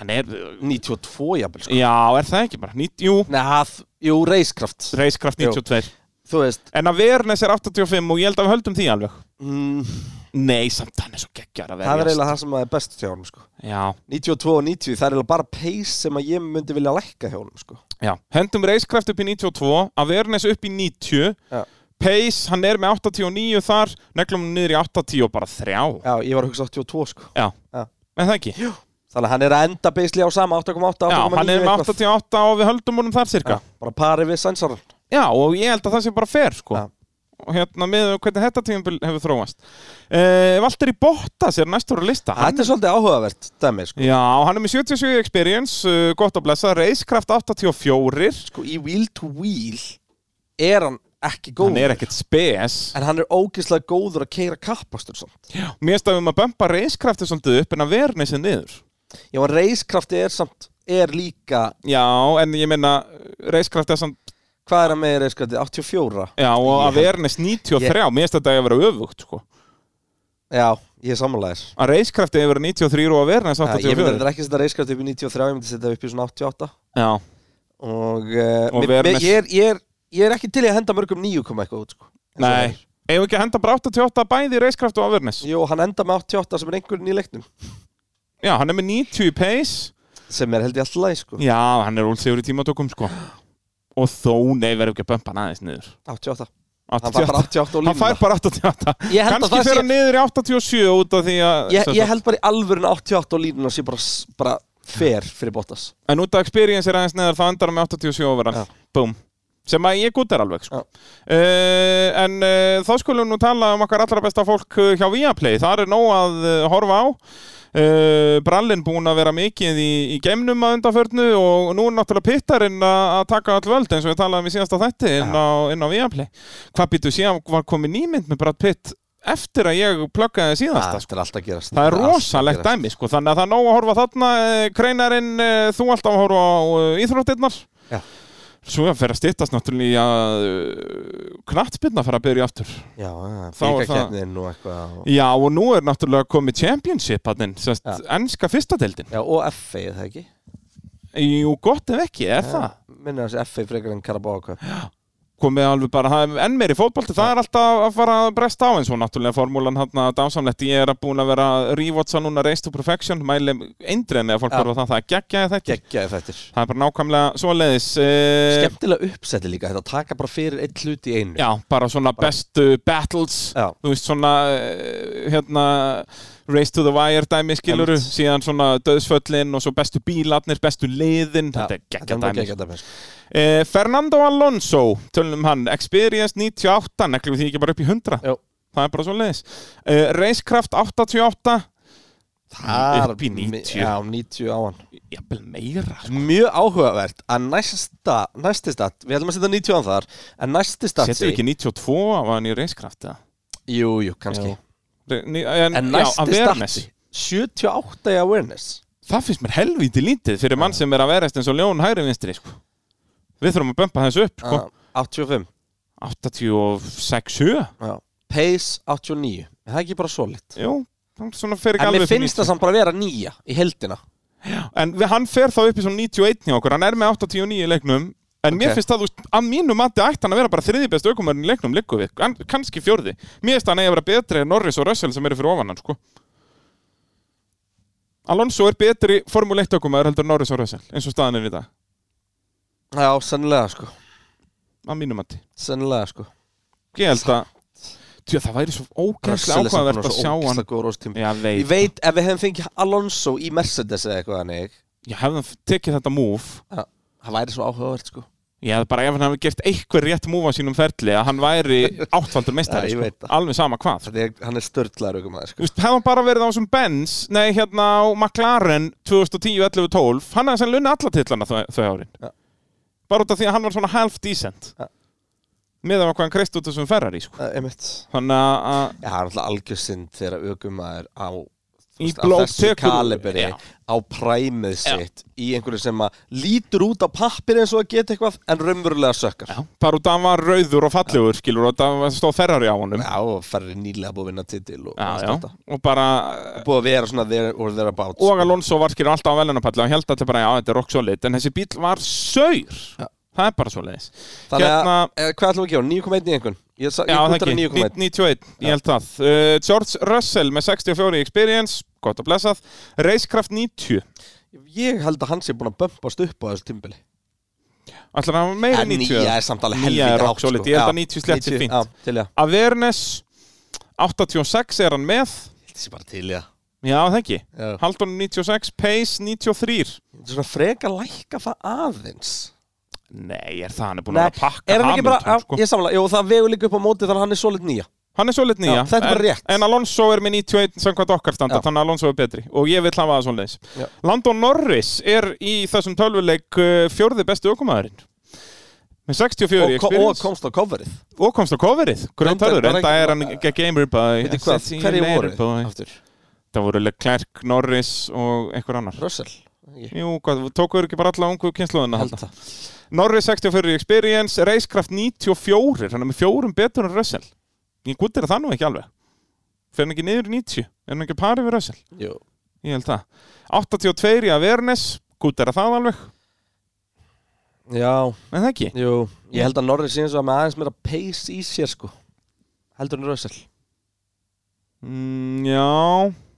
Hann er, eh, 92 jafnvel sko já, er það ekki bara? 90, jú, Nei, það, jú, reiskraft Reiskraft 92. Þú veist En að Vernes er 85 og ég held að við höldum því alveg. mm, Nei, samt hann er svo geggjar að verjast. Það er eiginlega það sem er best hjá honum sko Já, 92 og 90, það er eiginlega bara pace sem að ég myndi vilja lækka hjá honum sko já. Hendum Reiskraft upp í 92, að Vernes upp í 90. Já. Pace, hann er með 89 þar, neglum hann niður í 80 og bara þrjá. Já, ég var að hugsa 82 sko Já, Já. en það ekki Já, Þannig að hann er að enda beisli á sama 8,8, 8,9 hann er með eitthvað. 88 og við höldum honum þar cirka Já, Já, bara pari við sænsarann og ég held að það sé bara fer sko Já. Og hérna með hvernig þetta tímabil hefur þróast uh, Valtteri Bottas er næstur á lista Þetta er svolítið áhugavert, dæmi sko. Já, hann er með 77 experience, uh, gott að blessa, reiskraft 84 sko Í wheel to wheel er hann ekki góður Hann er ekkert spes En hann er ógeðslega góður að keira kappastur samt Mér stafum að bömpa reiskrafti svolítið upp en að verna sér niður Já, en reiskrafti er samt, er líka Já, en ég meina reiskrafti er samt Hvað er hann með í reiskrafti? 84? Já, og að vernes 93 Mér stafum þetta að vera öfugt sko Já, ég er samanlæðir Að reiskrafti hefur 93 og að vernes Ég myndi 84 þetta ekki setja reiskrafti upp í 93 Ég myndi setja upp í svona 88 Já, Og, uh, Og mér- við mér- erum með- ég, er, ég, er, ég er ekki til í að henda mörgum 9 koma eitthvað út sko. Eins og Nei. það er. Ef við ekki að henda bara 88 bæði í reiskraft og afurnes Jú, hann enda með 88 sem er einhverjum í leiknum Já, hann er með 90 í pace Sem er held ég alltaf læg sko Já, hann er úlsegur í tímatökum sko og þó, nei, verðum ekki að bömpa hann aðeins niður 88 Hann fær 88. bara 88 á Hann línuna fær bara 88 Ég held að kannski það fer sé- hann niður í 87 út af því að ég, sem ég sagt- held bara í alvörin 88 á línuna sé bara, s- bara fer fyrir Bottas en út af experience er aðeins neðar þá endar hann með 87 overan Já. Búm. sem að ég gútar alveg sko. Já. uh, en uh, þá skulum nú tala um okkar allra besta fólk uh, hjá Viaplay þar er nóg að uh, horfa á Uh, brallin búin að vera mikið í, í geimnum að undanförnu og nú er náttúrulega pittarinn að að taka all völd eins og við talaðum í síðasta þætti inn á, inn á Viaplay hvað býtu síðan var komið nýmynd með Brad Pitt eftir að ég pluggaði síðasta er alltaf að gerast Það er Allt að rosalegt gerast. dæmi, sko, þannig að það er nóg að horfa þarna, eh, kreinarinn, eh, þú alltaf að horfa á eh, íþróttirnar. Já. Svo að fer að styttast náttúrulega í að knattbyrna fara að byrja aftur. Já, já, Þá er það- byggakeppnin og eitthvað og- Já, og nú er náttúrulega komið championship hann, sérst, Já. ennska fyrsta deildin. Já, og FA, er það ekki? Jú, gott ef ekki, er það? Minna þessi FA frekar en Karabáka komið alveg bara, það er enn meiri fótbolti það er alltaf að fara að bresta á eins og náttúrulega formúlan hann að dásamlegt ég er að búin að vera að rewatcha núna Race to Perfection mæli eindriðinni að fólk Já. verður það það er geggjaði þetta Geggjaði fættir það er bara nákvæmlega svoleiðis eh, Skemmtilega uppsetti líka, þetta taka bara fyrir eitt hlut í einu já, bara svona bestu battles Já. þú veist svona eh, hérna Race to the Wire dæmi skiluru Einmitt. síðan svona döðsföllin og svo bestu bílarnir, bestu liðin Já, þetta er þetta geggjað er dæmi sko. geggjað dæmi sko. Eh, Fernando Alonso, tölum um hann Experience 98, neglum við því ekki bara upp í 100 Jó. Það er bara svo leiðis uh, Racecraft 88 Það Upp í 90. Já, 90 á hann Jafnvel meira sko. Mjög áhugavert að næsta, næsti stat Við ætlum að setja 90 á hann þar En næsti stat Settum við ekki 92 af hann í Racecraft eða? Jú, jú, kannski Jú. Re- ni- En, En já, að næsti Veraness. stati 78 í awareness Það finnst mér helvíti lítið fyrir mann sem er að verðast eins og ljón hægri vinstri sko. Við þurfum að bömpa þessu upp sko. ah, 85 86 7 já. Pace 89 Er Það er ekki bara svo lit Jú, svona fer ekki En mér alveg upp í finnst 90. það samt bara vera nýja í heldina En við, hann fer þá upp í svona 91 hjá okkur, hann er með 89 í leiknum En mér Ok. finnst það, þú veist, að mínu mati ætti hann að vera bara þriði best aukumörn í leiknum liggur við, en, kannski fjórði. Mér finnst hann eigi að vera betri en Norris og Russell sem eru fyrir ofan hann, sko. Alonso er betri formule 1 aukumörn heldur en Norris og Russell, eins og staðan er í dag, Já, sennilega sko að mínu mati. Sennilega sko Ég held að, tjá, það væri svo ógæslega ákvæðavert að sjá hann. sko. hann Já, Ég veit. veit ef við hefum fengið Alonso í Mercedes eða eitthvað þannig Ég hefði hann tekið þetta move já, Það væri svo áhugavert sko Ég hefði bara ef hann hefði gert eitthvað rétt múfa sínum ferli að hann væri áttfaldur meistari Já, ég sko. veit það. alveg sama hvað Þetta er, hann er störtlaður ykkur maður Þú sko veist, hefði hann bara verið á þessum Benz nei hérna á McLaren 2010, 11, 12 hann hefði senn lunni alla titlana þau, þau árin Já. bara út af því að hann var svona half decent Já. með að hvað hann kreist út þessum Ferrari sko. Það er mitt þannig að- að Já, það er alltaf algjörsind þegar aukumæður á þú Í veist, á blók þessu tekur- kaliberi Já. á præmið Já. sitt í einhverju sem að lítur út á pappir eins og að geta eitthvað en raunverulega sökkar Já, bara út af að hann var rauður og fallegur skilur og það stóð Ferrari á honum og ferri nýlega búið að vinna titil og, Já, allt já. þetta. og bara eh, Búið að vera svona there or thereabouts og Alonso var skilur alltaf á velunapalli og hann held allir bara já þetta er rock solid en þessi bíl var saur Já. það er bara svo leiðis Þannig að, hérna- eh, hvað ætlum við að gefa? 9,1 í einhvern? Ég, sa- Já, ég það útrar ekki, 9,1 91, ég held það uh, George Russell með 64 í experience gott og blessað, Racecraft 90 Ég held að hann sé búin að bömpast upp á þessu tímbili allar hann var meira En en 90 nýja er samt alveg Nýja helvítið er hátt, sko. rock solid, ég held að Já, 90 slett sé fínt. Já, til já Avernes 86 er hann með Þetta sé bara til já já það ekki, Já. Haldon 96 Pace 93 Svona frekar lækka það aðeins nei, er það hann er búin Nei, að vera að pakka er hann ekki Hamilton bara, já, sko. ég samla, jú, það vegur líka upp á móti þannig að hann er svolít nýja hann er svo litni, Já, þetta er bara en, rétt. en Alonso er með 91 samkvæmt okkar standart, Já. þannig að Alonso er betri og ég vil hafa það svona Já. leis Landon Norris er í þessum tölvuleik uh, fjórði bestu ökumæðurinn með 64 í og, ko- og experience komst á coverið og komst á coverið hvernig Reyndar- törður, enda bara- er hann ge- gamer by Veitir hvað, hverju voru aftur? það voru Leclerc, Norris og einhver annar Russell Ég Jú, hvað, tókuður ekki bara alla ungu kynsluðuna held það Norris 64 í experience, Racecraft 94 hann er með fjórum betur en Russell ég guttir það nú ekki alveg fer hann ekki niður í 90, er hann ekki parið við Russell Jú. ég held það 82 í Avernes, guttir það alveg Já, en það ekki jú, ég held að Norris síðan svo að með aðeins meira pace í sér sko heldur en Russell mm, já,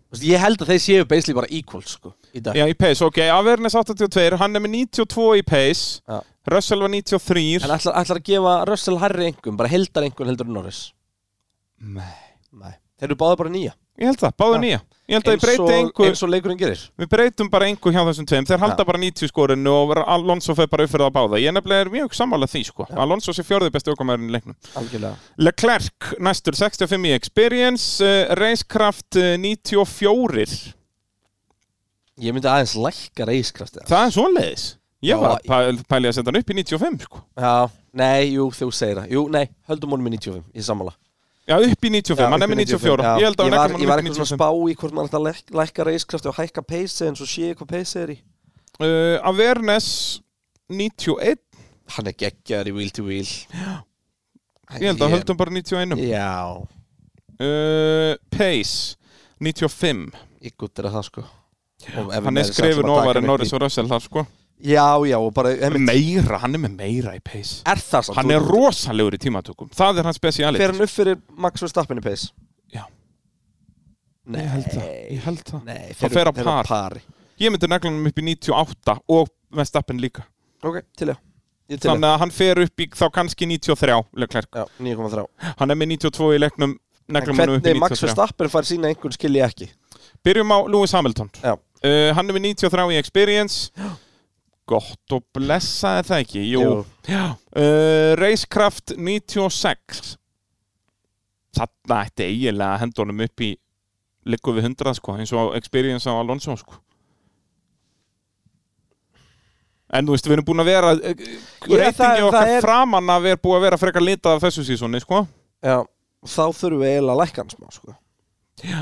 Þú veist, Ég held að þeir séu basically bara equal sko, í dag Já, í pace, ok, Avernes 82, hann er með 92 í pace Já. Russell var 93 En ætlar, ætlar að gefa Russell Harry einhverjum, bara heldar einhverjum heldur en Norris Nei. Nei. Þeir eru báðið bara nýja Ég held það, báðu Já. nýja Ég held að ég breyti og, einhver eins og leikurinn gerir Við breytum bara einhver hjá þessum tveim Þeir halda Já. bara 90 skorinu og Alonso fer bara upp fyrir það báða Ég nefnilega er mjög sammála því sko Alonso sé fjörði besti okkamæðurinn í leiknum Algjörlega Leclerc næstur 65 í experience uh, Racecraft uh, 94 Ég myndi aðeins lækka reiskraftið Það er svoleiðis Ég Já, var að pæ- pæli að senda hann upp í 95 sko Já, nei, jú, þú segir það Jú, nei, höldum honum í 95, ég sammála Já, upp í 95, Já, hann er upp í með 94 Ég held að ég var, hann ég er var með eitthvað svona að 95 spá í hvort maður ætti að læk- lækka reiskraftið og hækka pace eins og sé hvað pace er í uh, Avernes 91 Hann er geggjar í wheel to wheel Já Ég held að höldum bara 91 Já, uh, Pace 95 ég guttir að það sko Og ef Hann er Norris ætlar skrifun að taka ofar hann en upp Norris í- og Russell þar sko Já, já, og bara einmitt, Meira, hann er með meira í Pace Er það samt Hann er rosalegur í tímatökum Það er hans speciality Fer hann upp fyrir Max Verstappen í pace? Já. Nei Ég held það, ég held það. Nei, Hann fer á fer par. pari Ég myndi negla hann upp í 98 og Vestappen líka Ok, til já Ég til já Þannig að hann fer upp í þá kannski 93 Leclerc. Já, 9,3 Hann er með 92 í leiknum En Neglum hann upp í hvernig Max 93 Verstappen fær sína einhvern skil ég ekki Byrjum á Lewis Hamilton Já. uh, Hann er með 93 í experience Gott og blessa er það ekki Jú, Já. Uh, Racecraft 96 Þarna ætti eiginlega að henda honum upp í Liggu við 100 sko eins og á experience á Alonso sko En þú veist, við erum búin að vera uh, það- reytingi það okkar er- framan að við erum búin að vera frekar litað af þessu sísoni, sko Já, þá þurfum við eiginlega að lækka hann smá sko. Já.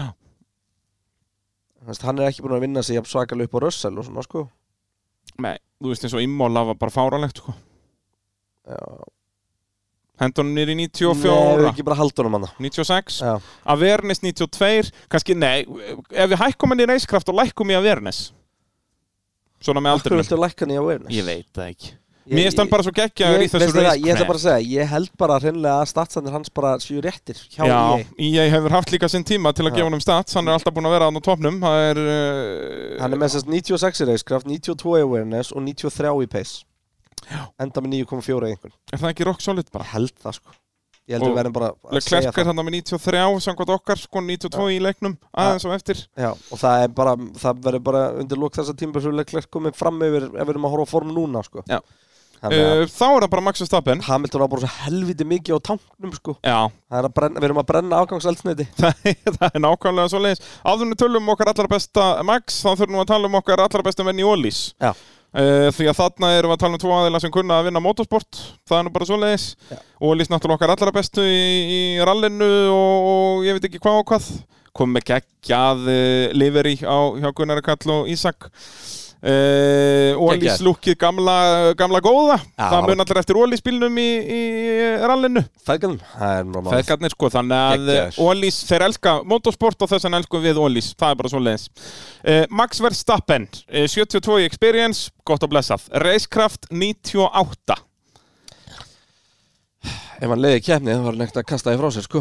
Þannig, Hann er ekki búin að vinna sig jafn svakalega upp á Russell og svona sko Nei, þú veist eins og Immóla var bara fáralegt, sko Já, Henda honum niður í Nei, við 94, ekki bara haldunum hann 96 Já, Avernes 92, kannski, nei ef við hækkum hann í reiskraft og lækkum í Avernes svona með okkur aldrei viltu lækka hann í awareness veit það ekki Mér finnst hann bara svo geggjaður í Ég, þessu veistu það, ég ætla bara reiskraft að segja, ég held bara hreinlega að statsandir hans bara séu réttir hjá E Já, ég. ég hefur haft líka sinn tíma til að Já. gefa hann um stats, hann er alltaf búin að vera hann á topnum það er Hann uh, er með þess 96 í reiskraft, 92 í awareness og 93 í pace. Já. Enda með 9,4 í einhvern. er það ekki rock solid bara Ég held það sko. Ég held Og við verðum bara að segja Klerk er það. þannig með 93, samkvæmt okkar sko 92 í leiknum, aðeins og eftir Já, og það er bara, það verður bara undir lók þessa tíma svo Leclerc komið fram yfir ef við erum að horfa á form núna sko. Já. Um, Þannig að uh, Þá er það bara Max Verstappen Hamilton á bara svo helviti mikið á tanknum sko. Já, Það er að brenna, við erum að brenna afgangseldsneiti. það er það er nákvæmlega svo leiðis áðurinn tölum um okkar allra besta Max þá þurfum við að tala um okkar allra besta menn í Ólís Já. uh, því að þarna erum við að tala um tvo aðeila sem kunna að vinna motorsport það er nú bara svo leiðis Já. Ólís náttúrulega okkar allra bestu í, í rallinu og, og ég veit ekki hvað og hvað kom með geggjað uh, liveri á hjá Gunnar Kall og Ísak Uh, Ólís Geggjað. lúkið gamla, gamla góða Já. það mun allir eftir Ólís bílnum í, í rallinu Feðgarnum, það er bara máli. Feðgarnir sko, þannig að Geggjaður. Ólís, þeir elska motorsport og þess vegna elskum við Ólís, það er bara svo leiðis Max Verstappen, eh, 72 í experience, gott og blessað Racecraft 98 Ef hann leiði kemni þá var hann ekkert að kasta því frá sér sko.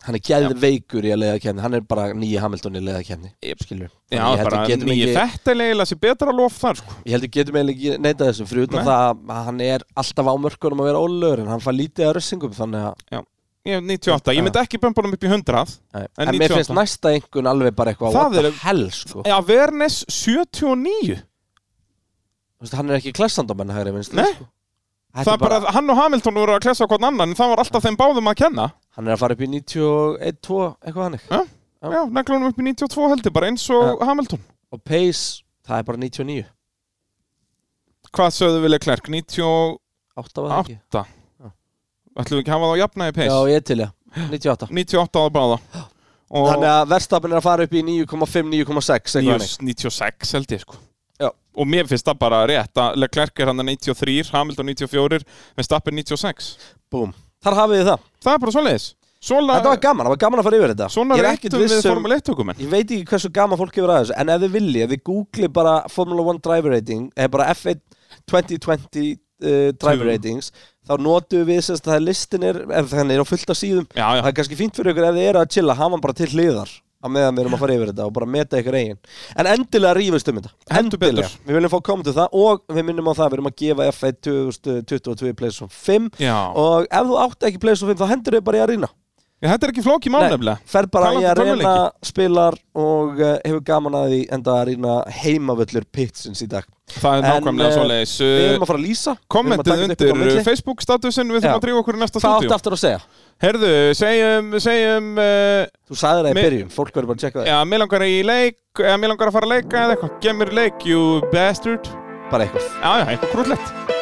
Hann er gæður veikur í að leiða kemni, hann er bara nýji Hamilton í að leiða kemni. Yep. Skilur. Já, Þannig ég held bara við getum nýju ekki- þetta leiðilega sér betra lof þar sko Ég held ég getum eiginlega ekki neitað þessum fyrir utan Nei. það að hann er alltaf á mörkunum að vera ólögur en hann fær lítið að rössingum þannig að Ég- 98, ég myndi ekki bömpunum upp í 100 Nei, En en, mér 98. finnst næsta einhvern alveg bara eitthvað Það what the er- Eh. hell sko Já, Vernes 79 Þú veist, hann er ekki klessandamenn hægri minnst Nei. sko. Það Þetta er bara, hann og Hamilton voru að klessa hvort annan en það var alltaf þeim báðum að kenna hann er að fara upp í 91, 2 eitthvað hannig Já. Já, neglunum upp í 92 heldur, bara eins og Hamilton og pace, það er bara 99 Hvað sögðu vilja Klerk? 90 8 var það ekki 8 Já. Ætlum við ekki að hafa það á jafna í pace? Já, ég til ég, 98 98 ára báða og Þannig að verstafin er að fara upp í 9,5, 9,6 eitthvað hannig 96 held ég sko Já. og mér finnst það bara rétt að Leclerc er hann að 93, Hamilton 94 Verstappen 96 Búm, þar hafið þið það það er bara svoleiðis Svola, Þetta var gaman, það var gaman að fara yfir þetta svona Ég er ekkert réttum við viss um- Formule 1 tökum Ég veit ekki hversu gaman fólk hefur aðeins En ef þið vilji, ef þið googli bara Formula 1 driver rating eða bara F1 2020 uh, driver Tvö. ratings þá notum við sérst að það er listin er ef þannig er á fullt af síðum já, já, það er kannski fínt fyrir ykkur ef þið eru að chilla hafa hann bara til hliðar að meðan við erum að fara yfir þetta og bara meta ykkur eigin en endilega rífust um þetta Heldur endilega, betur. við viljum fá komið til það og við minnum á það, við erum að gefa F1 2022 Playstation 5 Já. og ef þú átt ekki Playstation 5 þá hendur þau bara í að rýna Já, þetta er ekki flóki málnefnilega. fer bara Talandi í að reyna tölvuleiki. spilar og uh, hefur gaman að því enda að reyna heimavöllur pitsins í dag Það er En, nákvæmlega eh, svoleiðis. við erum að fara að lýsa við erum að Kommentið taka þetta upp undir á milli. Facebook-statusin, við þurfum Já. að drífa okkur í næsta hvað áttu stúdíu. aftur að segja? Herðu, segjum, segjum, uh, þú sagði það í Mér- byrjun, fólk verður bara að checka það já, mér langar í leik, eða mér langar að fara að leika eða eitthvað. Gemur leik, you bastard. bara eitthvað Já, já, eitthvað krúllett.